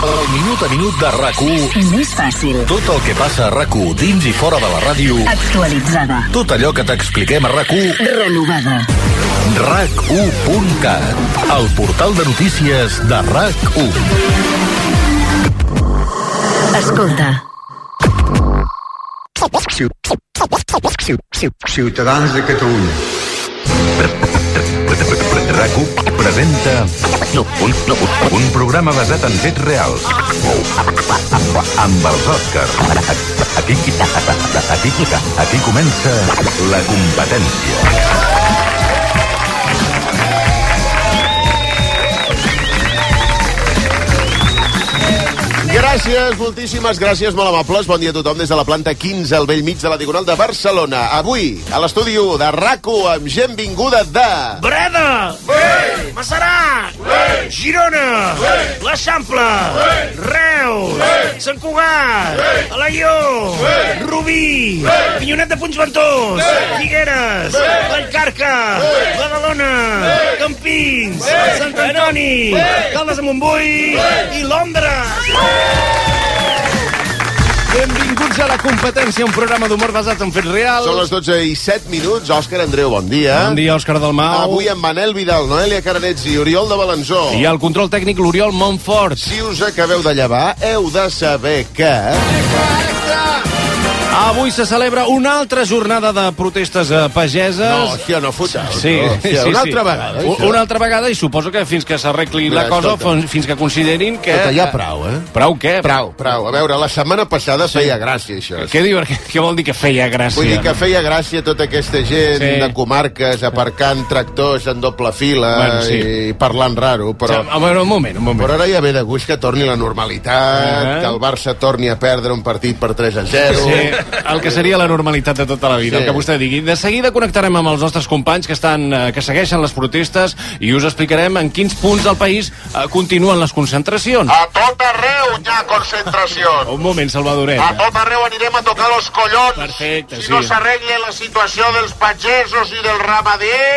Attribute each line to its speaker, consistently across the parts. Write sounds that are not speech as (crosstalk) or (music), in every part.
Speaker 1: El minut a minut de RAC1.
Speaker 2: Més fàcil.
Speaker 1: Tot el que passa a RAC1 dins i fora de la ràdio.
Speaker 2: Actualitzada.
Speaker 1: Tot allò que t'expliquem a RAC1.
Speaker 2: Renovada.
Speaker 1: RAC1.cat. El portal de notícies de RAC1.
Speaker 2: Escolta.
Speaker 3: Ciutadans de Catalunya.
Speaker 4: RAC1 presenta no, un, no, un programa basat en fets reals amb els Òscars. Aquí, aquí, aquí comença la competència.
Speaker 5: Gràcies, moltíssimes gràcies, molt amables. Bon dia a tothom des de la planta 15 al vell mig de la Diagonal de Barcelona. Avui, a l'estudi 1 de rac amb gent vinguda de...
Speaker 6: Breda! Bé! Massarà! Bé! Girona! Bé! L'Eixample! Bé! Reus! Bé! Sant Cugat! Bé! Alaió! Bé! Rubí! Bé! Pinyonet de Puigventós! Bé! Figueres! Bé! Vallcarca! Bé! Badalona! Bé! Campins! Bé! Sant Antoni! Bé! Caldes de Montbui! Bé! I Londres!
Speaker 7: Benvinguts a la competència, un programa d'humor basat en fets reals.
Speaker 5: Són les 12 i 7 minuts. Òscar Andreu, bon dia.
Speaker 7: Bon dia, Òscar Dalmau.
Speaker 5: Avui amb Manel Vidal, Noelia Caranets i Oriol de Balanzó.
Speaker 7: I al control tècnic l'Oriol Montfort.
Speaker 5: Si us acabeu de llevar, heu de saber que...
Speaker 7: Avui se celebra una altra jornada de protestes eh,
Speaker 5: No,
Speaker 7: pageses.
Speaker 5: hòstia, no foteu.
Speaker 7: Sí,
Speaker 5: no,
Speaker 7: sí,
Speaker 5: hòstia,
Speaker 7: sí.
Speaker 5: una altra vegada. eh,
Speaker 7: U- Una altra vegada i suposo que fins que s'arregli la
Speaker 5: Mira,
Speaker 7: cosa,
Speaker 5: escolta.
Speaker 7: fin- fins que considerin que...
Speaker 5: Escolta, ja prou, eh?
Speaker 7: Prou què?
Speaker 5: Prou, prou. A veure, la setmana passada feia gràcia, això.
Speaker 7: Què, diu, què vol dir que feia gràcia?
Speaker 5: Vull dir que feia gràcia tota aquesta gent sí.
Speaker 7: Sí.
Speaker 5: de comarques aparcant tractors en doble fila
Speaker 7: Bueno,
Speaker 5: bueno,
Speaker 7: sí.
Speaker 5: sí. i parlant raro, però...
Speaker 7: A veure, Ah, un moment, un moment.
Speaker 5: Però ara ja ve de gust que torni la normalitat,
Speaker 7: Ah.
Speaker 5: que el Barça torni a perdre un partit per 3 a 0.
Speaker 7: Sí, Eh, el que seria la normalitat de tota la vida, sí.
Speaker 5: Sí.
Speaker 7: el que vostè digui. De seguida connectarem amb els nostres companys que, estan, eh, que segueixen les protestes i us explicarem en quins punts del país eh, continuen les
Speaker 5: Ah.
Speaker 7: concentracions.
Speaker 8: A tot arreu hi ha concentració.
Speaker 7: Un moment,
Speaker 8: A
Speaker 5: Ah.
Speaker 7: Salvadoret.
Speaker 8: tot arreu anirem a tocar els collons.
Speaker 7: Perfecte,
Speaker 8: si
Speaker 7: sí.
Speaker 8: no s'arregla la situació dels pagesos i dels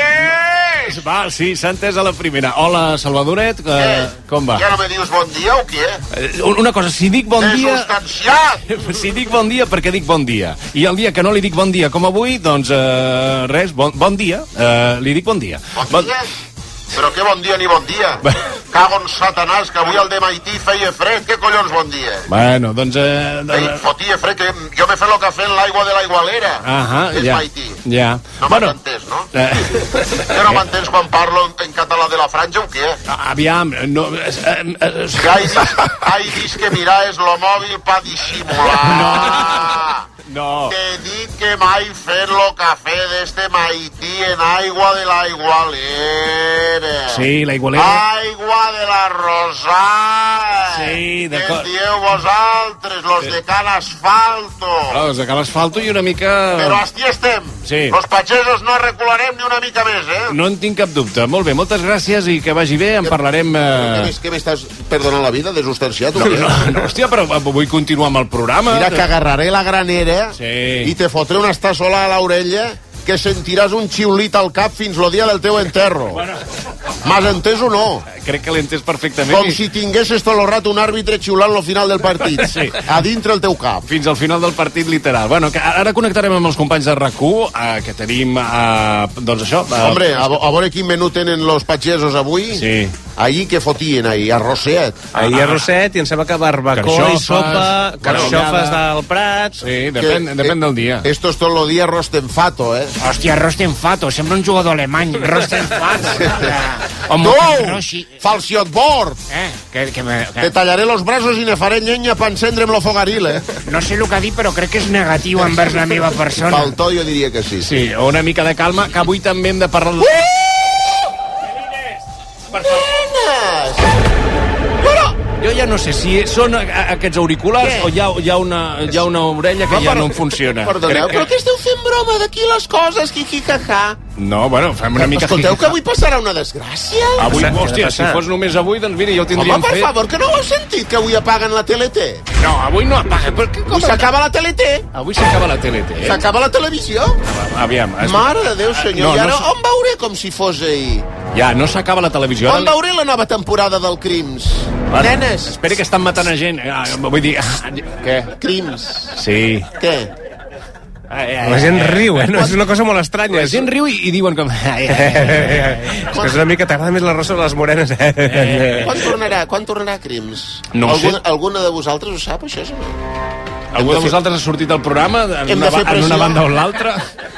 Speaker 8: ramaders...
Speaker 7: Va, sí, s'ha entès a la primera. Hola, Salvadoret, eh, com va?
Speaker 8: Ja no me dius bon dia o què?
Speaker 7: Eh, Una cosa, si dic bon dia...
Speaker 8: Desustanciat!
Speaker 7: (laughs) Si dic bon dia, perquè dic bon dia. I el dia que no li dic bon dia, com avui, doncs eh, res, bon, bon dia. Eh, li dic bon dia.
Speaker 8: Bon dia? Però què bon dia ni bon dia?
Speaker 7: Va.
Speaker 8: Cago en satanàs, que avui al de Maití feia fred. Què collons bon dia?
Speaker 7: Bueno, doncs... Eh,
Speaker 8: Ei,
Speaker 7: de-
Speaker 8: fotia fred, que jo me fe lo cafè en l'aigua de l'aigualera.
Speaker 7: Ahà,
Speaker 8: És
Speaker 7: ja.
Speaker 8: Maití.
Speaker 7: Ja.
Speaker 8: No
Speaker 7: Bueno.
Speaker 8: m'has entès, no?
Speaker 7: Eh,
Speaker 8: Jo no m'entens quan parlo en- en català de la franja o què?
Speaker 7: aviam, no... Eh, eh, eh,
Speaker 8: Que Ai, dis- ai, dis que mirar és lo mòbil pa dissimular.
Speaker 7: no.
Speaker 8: T'he dit que mai fer lo cafè d'este maití en aigua de la igualera.
Speaker 7: Sí, la
Speaker 5: Ah.
Speaker 7: Igualera.
Speaker 8: Aigua de la Rosà.
Speaker 7: Sí,
Speaker 8: Que
Speaker 7: d'acord.
Speaker 8: dieu vosaltres, los de Can Asfalto.
Speaker 7: Ah, és de cal asfalto i una
Speaker 8: Però
Speaker 7: mica...
Speaker 8: aquí estem.
Speaker 7: Sí.
Speaker 8: Los pagesos no recularem ni una mica més, eh?
Speaker 7: No en tinc cap dubte. Molt bé, moltes gràcies i que vagi bé. En parlarem...
Speaker 5: Què
Speaker 7: Eh...
Speaker 5: més, què m'estàs perdonant la vida, desustanciat? o què?
Speaker 7: No, no, hòstia, però vull continuar amb el programa.
Speaker 5: Mira que agarraré la granera
Speaker 7: Sí.
Speaker 5: i te fotré una estassola a l'orella que sentiràs un xiulit al cap fins lo dia del teu enterro. Bueno. M'has entès o no?
Speaker 7: Eh, Crec que l'he entès perfectament.
Speaker 5: Com
Speaker 7: i-
Speaker 5: si tinguessis tot el rato un àrbitre xiulant al final del partit.
Speaker 7: Sí.
Speaker 5: A dintre el teu cap.
Speaker 7: Fins al final del partit, literal. Bueno, que ara connectarem amb els companys de RAC1, eh, que tenim, eh, doncs això... Eh,
Speaker 5: Hombre, a, vo- a veure quin menú tenen los pagesos avui.
Speaker 7: Sí.
Speaker 5: Ahir què fotien, ahir? Arrosset.
Speaker 9: Ahir a Roset i em sembla que barbacoa i
Speaker 7: Ah, Carxofes,
Speaker 9: sopa, carxofes
Speaker 7: carallada.
Speaker 9: del Prat...
Speaker 7: Sí, depèn,
Speaker 5: Que-
Speaker 7: depèn
Speaker 5: eh,
Speaker 7: del dia.
Speaker 5: Esto es todo el día rostenfato, eh?
Speaker 6: Hòstia, Rostenfato, sembla un jugador alemany.
Speaker 5: (laughs)
Speaker 6: Rostenfato.
Speaker 5: No! Falsiot bord!
Speaker 6: Eh, que, que, me,
Speaker 5: Te
Speaker 7: Ah.
Speaker 6: que,
Speaker 5: tallaré los braços i ne faré llenya per encendre'm lo fogaril, eh?
Speaker 6: no sé el que dir, però crec que és negatiu envers la meva persona.
Speaker 5: Pel to jo diria que sí.
Speaker 7: Sí, una mica de calma, que avui també hem de parlar...
Speaker 5: Eh!
Speaker 7: De... Jo ja no sé si són a- a- aquests auriculars o hi ha, hi, ha una, hi ha una orella que ja no em funciona.
Speaker 5: Perdoneu, però què esteu fent broma d'aquí les coses, jijijajà?
Speaker 7: No, bueno, fem una mica...
Speaker 5: Escolteu que avui passarà una desgràcia?
Speaker 7: Avui,
Speaker 9: Què ha
Speaker 7: hòstia, si
Speaker 9: passat?
Speaker 7: fos només avui, doncs mira, ja ho
Speaker 5: Home,
Speaker 7: tindríem
Speaker 5: per
Speaker 7: fet.
Speaker 5: favor, que no ho heu sentit, que avui apaguen la TLT?
Speaker 7: No, avui no apaga, però Eh? què,
Speaker 5: Avui
Speaker 7: com...
Speaker 5: s'acaba la TLT,
Speaker 7: Avui s'acaba la TLT, eh?
Speaker 5: s'acaba la televisió.
Speaker 7: Aviam, es...
Speaker 5: Mare de Déu, senyor,
Speaker 7: Ah, No,
Speaker 5: i ara
Speaker 7: no sé-
Speaker 5: on veuré com si fos ahir?
Speaker 7: Ja, no s'acaba la televisió.
Speaker 5: On
Speaker 7: Ara...
Speaker 5: veuré la nova temporada del Crims?
Speaker 7: Ara-
Speaker 5: Nenes.
Speaker 7: Espera que estan matant a gent. Ah, vull dir...
Speaker 5: Què? Crims.
Speaker 7: Sí.
Speaker 5: Què?
Speaker 7: Ah,
Speaker 9: La gent riu, eh? No, és una cosa molt estranya.
Speaker 7: La gent riu i, i diuen com...
Speaker 9: És que és una mica t'agrada més la rosa de les morenes. eh?
Speaker 5: Quan tornarà? Quan tornarà Crims?
Speaker 7: Eh. No ho sé.
Speaker 5: alguna, alguna de vosaltres ho sap, això? o no?
Speaker 7: Algú de vosaltres ha sortit del programa en
Speaker 5: Hem
Speaker 7: una,
Speaker 5: de fer
Speaker 7: ba- en
Speaker 5: pressió.
Speaker 7: una banda o en l'altra?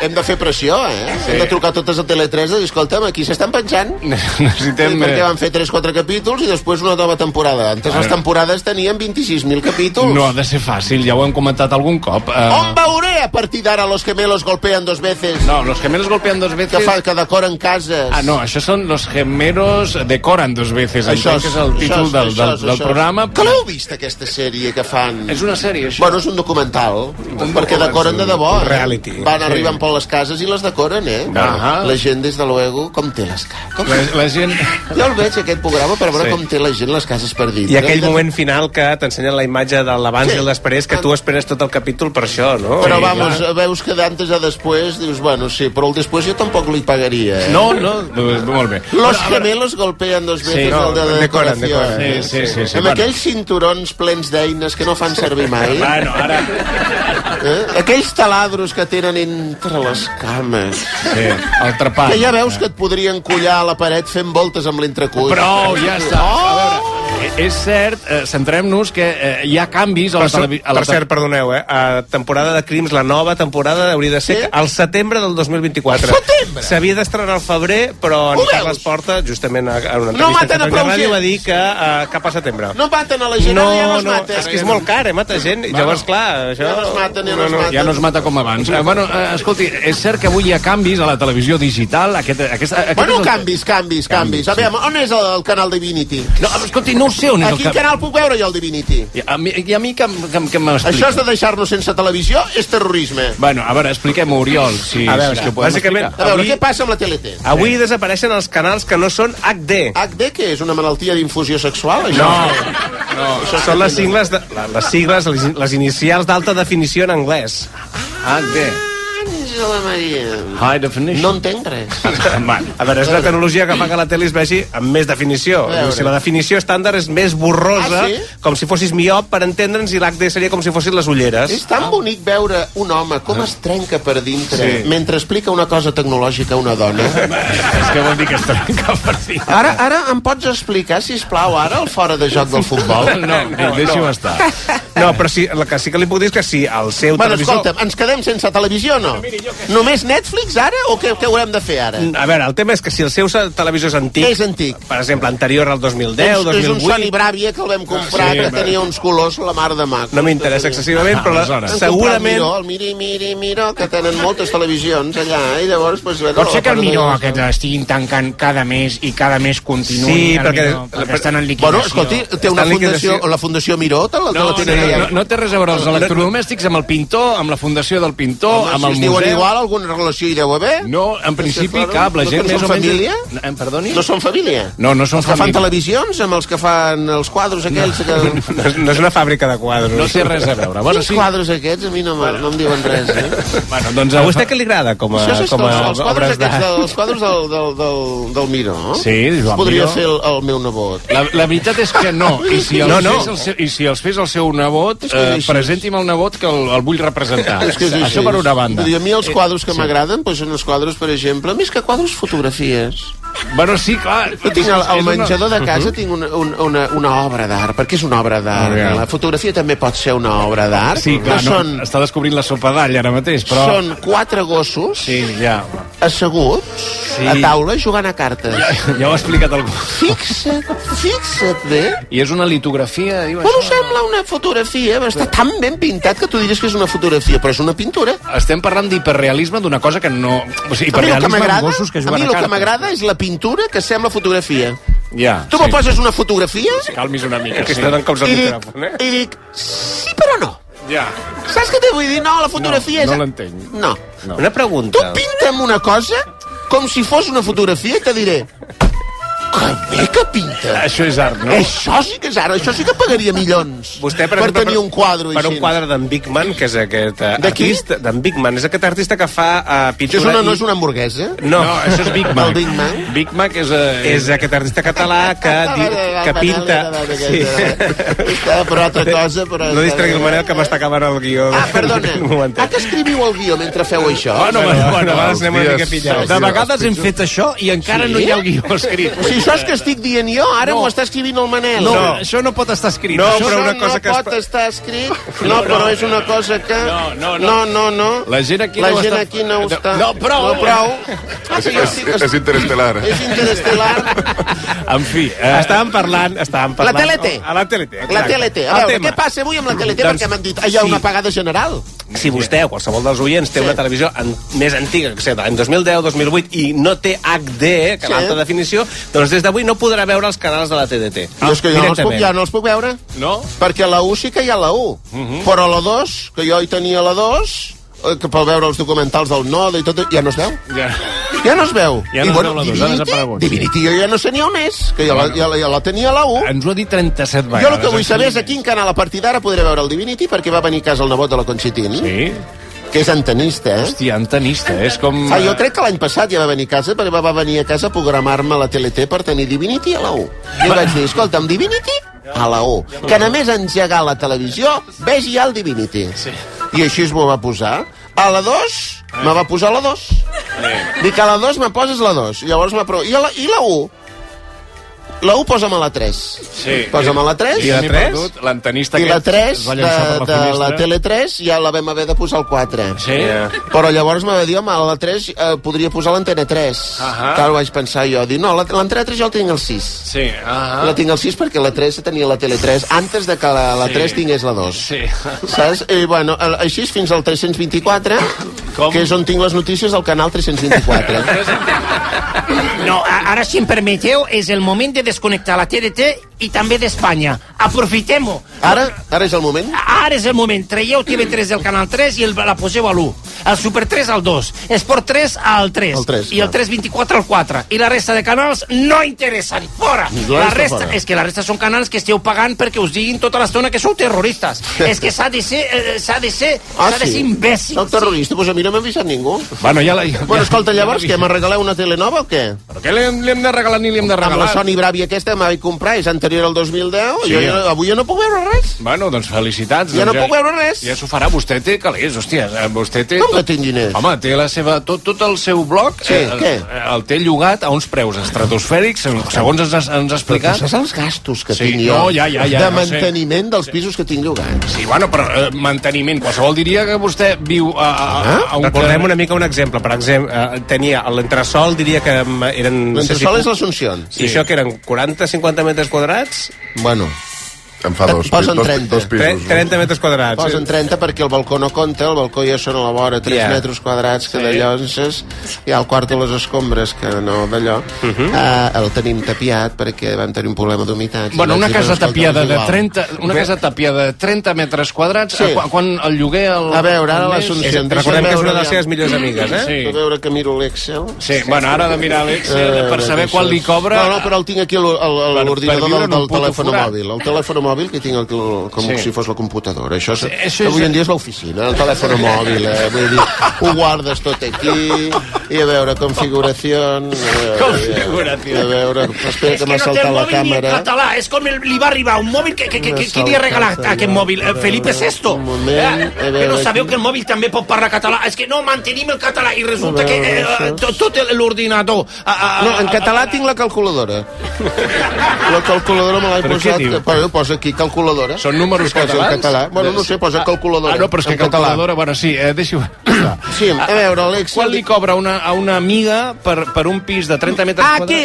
Speaker 5: Hem de fer pressió, eh? Sí. Hem de trucar totes a Tele3 i dir, escolta'm, aquí s'estan penjant.
Speaker 7: (laughs) Necessitem... eh,
Speaker 5: Sí, perquè van fer 3-4 capítols i després una nova temporada. Antes les temporades tenien 26.000 capítols.
Speaker 7: No ha de ser fàcil, ja ho hem comentat algun cop. Eh,
Speaker 5: On veuré a partir d'ara los gemelos golpean dos veces?
Speaker 7: No, los gemelos golpean dos veces...
Speaker 5: Que, fa, que decoren cases.
Speaker 7: Ah, no, això són Los gemelos decoran dos veces.
Speaker 5: Això
Speaker 7: Entenc que és el títol del, del,
Speaker 5: és-
Speaker 7: del
Speaker 5: això és.
Speaker 7: programa.
Speaker 5: Que l'heu vist, aquesta sèrie que fan?
Speaker 7: És una sèrie, això.
Speaker 5: Bueno, és un documental, perquè decoren de debò. eh?
Speaker 9: reality.
Speaker 5: Van arribant per les cases i les decoren, eh?
Speaker 7: Ahà.
Speaker 5: La gent, des de luego, com té les cases. Com...
Speaker 7: la, la gent...
Speaker 5: Jo el veig, aquest programa, per veure
Speaker 7: Sí.
Speaker 5: sí. com té la gent les cases per dintre.
Speaker 9: I aquell
Speaker 5: de-
Speaker 9: moment final que t'ensenya la imatge de l'abans
Speaker 5: Sí. Ah.
Speaker 9: i el després, que tu esperes tot el capítol per això, no?
Speaker 5: Però
Speaker 9: Sí,
Speaker 5: vamos,
Speaker 9: clar.
Speaker 5: veus que d'antes a després dius, bueno, sí, però el després jo tampoc li pagaria, eh?
Speaker 7: No, no, doncs, molt bé.
Speaker 5: Los gemelos golpean dos veces
Speaker 7: no,
Speaker 5: el de la
Speaker 9: decoren,
Speaker 5: decoració.
Speaker 9: decoren.
Speaker 5: eh?
Speaker 7: Sí, sí, sí. sí
Speaker 5: amb
Speaker 7: bueno.
Speaker 5: aquells cinturons plens d'eines que no fan servir mai,
Speaker 7: Bueno, Ah, ara...
Speaker 5: eh? aquells taladros que tenen entre les cames,
Speaker 7: Sí, el trepant.
Speaker 5: que ja veus que et podrien collar a la paret fent voltes amb l'entrecull.
Speaker 7: Prou, ja està.
Speaker 5: Oh!
Speaker 7: A veure, eh, és cert, eh, centrem-nos que eh, hi ha canvis a la
Speaker 9: Per, cer-
Speaker 7: televisió.
Speaker 9: per cert, perdoneu, eh? A temporada de Crims, la nova temporada hauria de ser
Speaker 5: Sí?
Speaker 9: al setembre del 2024.
Speaker 5: Setembre?
Speaker 9: S'havia d'estrenar al febrer, però
Speaker 5: Ho
Speaker 9: en
Speaker 5: veus?
Speaker 9: Carles Porta, justament a, a una
Speaker 5: No
Speaker 9: entrevista
Speaker 5: maten a
Speaker 9: a
Speaker 5: prou
Speaker 9: Catalunya Ràdio,
Speaker 5: gent.
Speaker 9: va dir que uh, cap a setembre.
Speaker 5: No maten a la gent, ara ja no es maten.
Speaker 9: és que és molt car, eh, mata gent. I llavors, clar, això...
Speaker 5: Ja no es maten, ja no es maten.
Speaker 7: ja no es mata com abans. Eh, bueno, eh, escolti, és cert que avui hi ha canvis a la televisió digital. Aquest, aquest, aquest és
Speaker 5: Bueno,
Speaker 7: el-
Speaker 5: canvis, canvis, canvis. A veure, on és el, el canal Divinity?
Speaker 7: No, escolti, no ho sé on és
Speaker 5: A
Speaker 7: el
Speaker 5: quin
Speaker 7: cap.
Speaker 5: canal puc veure jo el Divinity?
Speaker 7: I a mi, i a mi que, que, que m'expliqui.
Speaker 5: Això és de deixar-nos sense televisió és terrorisme.
Speaker 7: Bueno, a veure, expliquem-ho, Oriol, si,
Speaker 9: A
Speaker 7: si
Speaker 9: veure,
Speaker 7: és que ho podem
Speaker 9: bàsicament-
Speaker 7: explicar.
Speaker 5: A veure,
Speaker 9: Avui-
Speaker 5: què passa amb la TLT?
Speaker 9: Avui desapareixen els canals que no són HD.
Speaker 5: HD, què és? Una malaltia d'infusió sexual, això?
Speaker 9: no. Són les sigles, de, la- les sigles, les, les inicials d'alta definició en anglès.
Speaker 7: HD.
Speaker 5: Àngela Maria...
Speaker 7: High definition.
Speaker 5: No entenc res.
Speaker 7: (laughs)
Speaker 9: A veure, és una tecnologia que fa que la tele es vegi amb més definició.
Speaker 5: A veure.
Speaker 9: Si la definició estàndard és més borrosa,
Speaker 5: Ah, sí?
Speaker 9: com si fossis miop, per entendre'ns, i l'HD seria com si fossin les ulleres.
Speaker 5: És tan bonic veure un home com es trenca per dintre
Speaker 7: Sí.
Speaker 5: mentre explica una cosa tecnològica a una dona.
Speaker 7: És que vol dir que es trenca per fi.
Speaker 5: Ara, ara em pots explicar, si plau ara el fora de joc del futbol?
Speaker 7: No, no deixi-ho estar.
Speaker 9: No, però sí, el que sí que li puc dir és que si el seu
Speaker 5: Bueno,
Speaker 9: televisor...
Speaker 5: escolta'm, ens quedem sense televisió o no? Només Netflix ara o què, què haurem de fer ara?
Speaker 9: A veure, el tema és que si el seu televisor és antic...
Speaker 5: És antic.
Speaker 9: Per exemple, anterior al 2010,
Speaker 5: és, és un
Speaker 9: 2008...
Speaker 5: Sony Bravia que el vam comprar,
Speaker 7: Ah, Sí,
Speaker 5: que
Speaker 7: va.
Speaker 5: tenia uns colors la mar de maco.
Speaker 9: No m'interessa excessivament, però la,
Speaker 7: aleshores.
Speaker 5: Han
Speaker 9: segurament...
Speaker 5: comprat El Miro, el Miro, Miro, Miro, que tenen moltes televisions allà, eh? i llavors... Pues, bueno,
Speaker 10: Pot ser Oh, que el
Speaker 5: la part de-
Speaker 10: Miró aquest estiguin tancant cada mes i cada mes continuï
Speaker 9: Sí,
Speaker 10: el
Speaker 9: perquè-
Speaker 10: Miró, perquè estan en liquidació.
Speaker 5: Bueno, escolti,
Speaker 9: Estan
Speaker 5: té una
Speaker 9: en
Speaker 5: fundació,
Speaker 9: liquidació.
Speaker 5: la fundació Miró, te la, te
Speaker 7: No,
Speaker 5: la
Speaker 7: no,
Speaker 5: tenen allà.
Speaker 7: no, no té res a veure els electrodomèstics amb el pintor, amb la fundació del pintor,
Speaker 5: Home,
Speaker 7: amb el
Speaker 5: si es diuen
Speaker 7: museu...
Speaker 5: igual, alguna relació hi deu haver?
Speaker 7: No, en principi cap, la
Speaker 5: No
Speaker 7: gent
Speaker 5: són
Speaker 7: més o menys...
Speaker 5: família?
Speaker 7: Em perdoni?
Speaker 5: No són família?
Speaker 7: No, no són
Speaker 5: Els que fan
Speaker 7: família.
Speaker 5: televisions amb els que fan els quadros aquells
Speaker 7: (laughs)
Speaker 5: que...
Speaker 9: No és, no és una fàbrica de quadros.
Speaker 7: No té res a veure. Bueno,
Speaker 5: Quins
Speaker 7: sí.
Speaker 5: quadros aquests? A mi no, me- no em diuen res,
Speaker 7: (laughs)
Speaker 5: eh?
Speaker 7: Bueno, doncs...
Speaker 9: A vostè què li agrada com a,
Speaker 5: Això és
Speaker 9: com a
Speaker 5: els, els quadres
Speaker 9: obres de...
Speaker 5: aquests, del, els quadros del, del, del, del Miró.
Speaker 7: Sí,
Speaker 5: Els
Speaker 7: Joan
Speaker 5: Podria
Speaker 7: Miró.
Speaker 5: ser el, el meu nebot.
Speaker 7: La, la veritat és que no. I si els,
Speaker 9: No, no.
Speaker 7: Fes, el seu, i si els fes el seu nebot,
Speaker 5: És que és
Speaker 7: eh,
Speaker 5: així.
Speaker 7: presenti'm el nebot que el, el vull representar.
Speaker 5: És que és
Speaker 7: Això
Speaker 5: així.
Speaker 7: per una banda.
Speaker 5: Vull dir, a mi els quadros que m'agraden doncs són els quadros, per exemple, més que quadros, fotografies.
Speaker 7: Bueno, sí, clar.
Speaker 5: Jo tinc al,
Speaker 7: És
Speaker 5: al
Speaker 7: una-
Speaker 5: menjador de casa tinc una, un- una, una obra d'art, perquè és una obra d'art.
Speaker 7: Molt bé.
Speaker 5: La fotografia també pot ser una obra d'art.
Speaker 7: Sí, clar,
Speaker 5: que
Speaker 7: no,
Speaker 5: són,
Speaker 7: està descobrint la sopa d'all ara mateix, però...
Speaker 5: són quatre gossos
Speaker 7: Sí, ja.
Speaker 5: asseguts
Speaker 7: Sí.
Speaker 5: a taula jugant a cartes.
Speaker 7: Ja ho ha explicat algú.
Speaker 5: Fixa't, fixa't bé.
Speaker 7: I és una litografia, diu
Speaker 5: Bueno,
Speaker 7: això.
Speaker 5: sembla una fotografia, però està tan ben pintat que tu diries que és una fotografia, però és una pintura.
Speaker 7: Estem parlant d'hiperrealisme d'una cosa que no... O sigui,
Speaker 5: A mi el que
Speaker 7: hiperrealisme amb
Speaker 5: m'agrada
Speaker 7: gossos que
Speaker 5: a mi
Speaker 7: juguen a,
Speaker 5: el que
Speaker 7: cartes.
Speaker 5: m'agrada és la pintura que sembla fotografia.
Speaker 7: Ja,
Speaker 5: Tu me poses una fotografia
Speaker 7: Calmis una mica,
Speaker 9: Que
Speaker 7: sí.
Speaker 9: estan cops al
Speaker 5: i dic,
Speaker 9: micròfon, eh?
Speaker 5: i dic, sí però no.
Speaker 7: Ja.
Speaker 5: Saps què t'he vull dir? No, la fotografia
Speaker 7: No,
Speaker 5: és...
Speaker 7: no l'entenc.
Speaker 5: No.
Speaker 9: Una
Speaker 5: Tu
Speaker 9: pregunta.
Speaker 5: pinta'm una cosa com si fos una fotografia i te diré Que bé que pinta!
Speaker 9: Això és art, no?
Speaker 5: Això sí que és ara, això sí que pagaria milions
Speaker 9: Vostè, per,
Speaker 5: per
Speaker 9: exemple,
Speaker 5: tenir un quadro
Speaker 9: per
Speaker 5: així.
Speaker 9: un quadre d'en Bigman, que és aquest eh,
Speaker 5: De qui?
Speaker 9: artista, d'en Bigman, és aquest artista que fa uh,
Speaker 5: Això
Speaker 9: pintura...
Speaker 5: és una,
Speaker 9: i-
Speaker 5: no és una hamburguesa?
Speaker 9: No, això és
Speaker 5: (laughs)
Speaker 9: Big Mac.
Speaker 5: El Big Mac?
Speaker 7: Big Mac és... Eh,
Speaker 9: És aquest artista català que,
Speaker 5: (laughs)
Speaker 9: di, que pinta... Sí.
Speaker 5: Està per altra cosa, però...
Speaker 9: No distregui el Manel, que m'està acabant el guió.
Speaker 5: Ah, perdona.
Speaker 9: (laughs) Un Oh, momentet.
Speaker 5: Ah, que escriviu el guió mentre feu això?
Speaker 7: Bueno, bueno,
Speaker 9: Bueno, a vegades anem una mica pillats.
Speaker 7: de vegades hem fet això i encara sí? no hi ha el guió escrit.
Speaker 5: Si això és que estic dient jo, ara no. ho està escrivint el Manel.
Speaker 7: No,
Speaker 9: No.
Speaker 7: això no pot estar escrit.
Speaker 9: No,
Speaker 7: això
Speaker 9: però
Speaker 5: no,
Speaker 9: una cosa
Speaker 5: no
Speaker 9: que es
Speaker 5: pot
Speaker 9: pa-
Speaker 5: estar escrit. No, però és una cosa que...
Speaker 7: No, no, no.
Speaker 5: no, no, no.
Speaker 7: La gent aquí
Speaker 5: La
Speaker 7: no ho
Speaker 5: gent
Speaker 7: està-
Speaker 5: aquí no ho
Speaker 7: No,
Speaker 5: està...
Speaker 7: no, prou.
Speaker 5: No, prou. Ah, sí, jo estic...
Speaker 4: És interestel·lar.
Speaker 5: És interestel·lar.
Speaker 7: En fi, eh,
Speaker 9: Estàvem parlant... Estàvem parlant Oh,
Speaker 5: TLT.
Speaker 9: A la TLT.
Speaker 5: La
Speaker 9: exacte.
Speaker 5: TLT. A
Speaker 9: El
Speaker 5: veure,
Speaker 9: tema.
Speaker 5: què passa avui amb la TLT?
Speaker 9: Doncs,
Speaker 5: Perquè m'han dit, ah, hi ha una
Speaker 9: sí.
Speaker 5: pagada general.
Speaker 9: Si vostè o qualsevol dels oients té
Speaker 5: Sí.
Speaker 9: una televisió an més antiga, que sigui de l'any 2010, 2008, i no té HD, que
Speaker 5: Sí.
Speaker 9: sí. l'alta definició, doncs des d'avui no podrà veure els canals de la TDT.
Speaker 5: Ah, és que jo no els, puc,
Speaker 9: Directament.
Speaker 5: ja no els puc veure.
Speaker 7: No?
Speaker 5: Perquè la 1 sí que hi ha la 1.
Speaker 7: Mhm.
Speaker 5: Però la 2, que jo hi tenia la 2, eh, que per veure els documentals del Noda i tot, ja no es veu.
Speaker 7: ja.
Speaker 5: Ja no es veu.
Speaker 7: Ja no
Speaker 5: I,
Speaker 7: es veu la dos, ha desaparegut.
Speaker 5: Divinity, Divinity, jo ja no sé ni on és, que ja, la, ja, la, ja la tenia la 1.
Speaker 7: ens ho ha dit 37 vegades.
Speaker 5: Jo el que vull saber és a quin canal a partir d'ara podré veure el Divinity perquè va venir a casa el nebot de la Conchitín,
Speaker 7: Sí?
Speaker 5: que és antenista, eh?
Speaker 7: Hòstia, antenista, és com...
Speaker 5: Ah, jo crec que l'any passat ja va venir a casa, perquè va, va venir a casa a programar-me la TLT per tenir Divinity a la 1. I vaig dir, escolta'm, Divinity a la 1. Que només engegar la televisió vegi ja el Divinity. Sí. I així es m'ho va posar. A la 2 me va posar la 2. Dic, a la 2 me poses la 2. Llavors m'ha pro... I, a la, I la 1? La 1 posa'm a la 3.
Speaker 7: Sí.
Speaker 5: Posa'm a la 3.
Speaker 7: I la
Speaker 9: I la
Speaker 7: 3?
Speaker 9: tres?
Speaker 7: L'antenista
Speaker 5: I la 3
Speaker 7: es
Speaker 5: de,
Speaker 7: va llançar per
Speaker 5: de la
Speaker 7: finestra.
Speaker 5: Tele3 ja la vam haver de posar al 4.
Speaker 7: Sí?
Speaker 9: Ja.
Speaker 5: Però llavors me va dir, home, a la 3 eh, podria posar l'antena 3.
Speaker 7: Ahà.
Speaker 5: Clar, ho vaig pensar jo. Dic, no, la- l'antena 3 jo la tinc al 6.
Speaker 7: Sí. Ah.
Speaker 5: La tinc al 6 perquè la 3 tenia la Tele3 antes de que la, la 3 tingués la 2.
Speaker 7: Sí.
Speaker 5: Saps? I, bueno, a- així és fins al 324,
Speaker 7: Com?
Speaker 5: que és on tinc les notícies del
Speaker 7: (laughs)
Speaker 5: canal 324.
Speaker 10: No, a- ara, si em permeteu, és el moment de desconnectar la TDT i també d'Espanya. Aprofitem-ho.
Speaker 5: Ara, ara és el moment?
Speaker 10: Ara és el moment. Traieu TV3 del Canal 3 i el, la poseu a l'1. El Super 3 al 2. Esport 3 al 3.
Speaker 5: Al tres,
Speaker 10: I el
Speaker 5: clar.
Speaker 10: 324 al 4. I la resta de canals no interessen. Fora!
Speaker 5: La
Speaker 10: La
Speaker 5: resta
Speaker 10: resta,
Speaker 5: fora.
Speaker 10: és que la resta són canals que esteu pagant perquè us diguin tota l'estona que sou
Speaker 5: (laughs)
Speaker 10: terroristes. és que s'ha de ser... eh, S'ha de ser...
Speaker 5: Ah,
Speaker 10: S'ha de ser imbècil.
Speaker 5: El terrorista? Doncs pues a mi no m'ha avisat ningú.
Speaker 7: Bueno, (laughs) ja la...
Speaker 5: Bueno, escolta, llavors, què, me regaleu una tele nova o què?
Speaker 7: Però què li hem, li hem de regalar ni li hem de
Speaker 5: Amb la
Speaker 7: regalar?
Speaker 5: Sony Bravia aquesta que m'havia comprar, és anterior al 2010,
Speaker 7: Sí.
Speaker 5: sí. jo, jo, avui jo no puc veure res.
Speaker 7: Bueno, doncs felicitats.
Speaker 5: Ja
Speaker 7: doncs
Speaker 5: no puc veure res.
Speaker 7: Ja s'ho farà. Vostè té calés, hòstia. eh, Vostè té...
Speaker 5: Com que tinc diners?
Speaker 7: Home, té la seva... Tot, tot el seu bloc... eh,
Speaker 5: Sí, què?
Speaker 7: El té llogat a uns preus estratosfèrics, segons ens, has- ens ha
Speaker 5: Però
Speaker 7: explicat.
Speaker 5: tu saps els gastos que
Speaker 7: Sí,
Speaker 5: tinc jo
Speaker 7: no, ja, ja, ja,
Speaker 5: de
Speaker 7: no sé.
Speaker 5: manteniment dels pisos que tinc llogats?
Speaker 7: Sí, bueno, però eh, manteniment. Qualsevol diria que vostè viu a, a, a,
Speaker 5: Ah?
Speaker 7: a un...
Speaker 9: Recordem una mica un exemple. Per exemple, eh, tenia l'entresol, diria que mm, eren... no sé
Speaker 5: L'entresol
Speaker 9: si-
Speaker 5: és l'Assumpció.
Speaker 9: I això que eren 40-50 metres quadrats,
Speaker 5: Bueno,
Speaker 4: Em fa dos,
Speaker 5: Posen
Speaker 4: dos,
Speaker 5: 30.
Speaker 4: dos pisos.
Speaker 9: tre- 30 metres quadrats.
Speaker 5: posen
Speaker 9: eh?
Speaker 5: 30 perquè el balcó no compta, el balcó ja són a la vora 3
Speaker 9: Ja.
Speaker 5: yeah. metres quadrats, que d'allò ences hi ha el quart de les escombres, que no d'allò, uh
Speaker 7: Mhm.
Speaker 5: el tenim tapiat perquè van tenir un problema d'humitat. i
Speaker 7: Bueno,
Speaker 5: vaig
Speaker 7: una
Speaker 5: dir,
Speaker 7: casa
Speaker 5: "Escolta,
Speaker 7: tapiada
Speaker 5: és
Speaker 7: de
Speaker 5: igual".
Speaker 7: 30, una casa tapiada de 30 metres quadrats,
Speaker 5: Sí.
Speaker 7: sí. quan, quan el lloguer... El,
Speaker 5: A veure, ara
Speaker 7: el mes-
Speaker 5: l'Assumpció.
Speaker 9: Eh, Recordem que és una de les seves millors amigues, eh?
Speaker 7: Sí.
Speaker 5: A veure que miro l'Excel. Eh,
Speaker 7: Sí, bueno, ara ha de mirar l'Excel eh, per saber quan li cobra...
Speaker 5: No, no, però el tinc aquí a l'or- a l'or- a
Speaker 7: Per- per
Speaker 5: l'ordinador
Speaker 7: viure
Speaker 5: del,
Speaker 7: en un
Speaker 5: del
Speaker 7: puto
Speaker 5: telèfon
Speaker 7: forat.
Speaker 5: mòbil. El telèfon mòbil que tinc aquí, el- com
Speaker 7: Sí.
Speaker 5: si fos la computadora. Això, és,
Speaker 7: això és-
Speaker 5: avui en dia és l'oficina, el telèfon mòbil. Eh? Vull dir, ho guardes tot aquí, i a veure, configuració... Eh,
Speaker 7: Configuració.
Speaker 5: A veure, espera
Speaker 10: És
Speaker 5: que
Speaker 10: que
Speaker 5: m'ha
Speaker 10: no té el
Speaker 5: saltat la
Speaker 10: mòbil ni en
Speaker 5: càmera.
Speaker 10: català, és com el, li va arribar un mòbil que, que, que, que, qui li ha regalat aquest mòbil? Eh, Felipe VI.
Speaker 5: Un moment,
Speaker 10: Eh,
Speaker 5: a
Speaker 10: que no
Speaker 5: veure
Speaker 10: sabeu
Speaker 5: aquí.
Speaker 10: que el mòbil també pot parlar català. És que no, mantenim el català i resulta
Speaker 5: A
Speaker 10: que
Speaker 5: veure,
Speaker 10: eh, eh,
Speaker 5: això.
Speaker 10: tot, tot el- l'ordinador... a- a- a-
Speaker 5: No, en català tinc la calculadora. La calculadora me l'he
Speaker 7: Però què
Speaker 5: posat...
Speaker 7: diu?
Speaker 5: Però posa aquí calculadora.
Speaker 7: Són números
Speaker 5: Posa en
Speaker 7: catalans?
Speaker 5: Català. Bueno, no sé, posa calculadora.
Speaker 7: Ah, no, però és que
Speaker 5: en català.
Speaker 7: calculadora... Bueno, sí, eh, deixi-ho...
Speaker 5: Sí, a veure, Alexi-
Speaker 7: Quan li cobra una, a una amiga per, per un pis de 30 metres
Speaker 5: Ah, Aquí,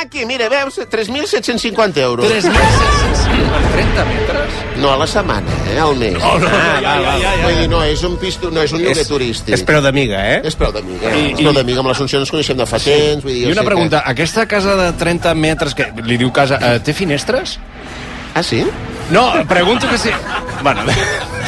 Speaker 5: aquí, mira, veus? 3.750 euros.
Speaker 7: 3.750 30 metres? Oh,
Speaker 5: No a la setmana, eh, al mes.
Speaker 7: No, no, ja, ja, ja, ja.
Speaker 5: Vull dir, no, és un, pisto, no, és un lloguer
Speaker 9: Ah, És,
Speaker 5: turístic.
Speaker 9: és preu d'amiga, eh?
Speaker 5: És preu d'amiga.
Speaker 7: I-
Speaker 5: I, és preu
Speaker 7: i-
Speaker 5: d'amiga, amb l'Assumpció ens coneixem de fa temps. Vull dir,
Speaker 7: I
Speaker 5: jo
Speaker 7: una
Speaker 5: sé
Speaker 7: pregunta, aquesta casa de 30 metres, que li diu casa, eh, té finestres?
Speaker 5: Que... Ah, sí?
Speaker 7: No, pregunto que sí. Bueno, (laughs)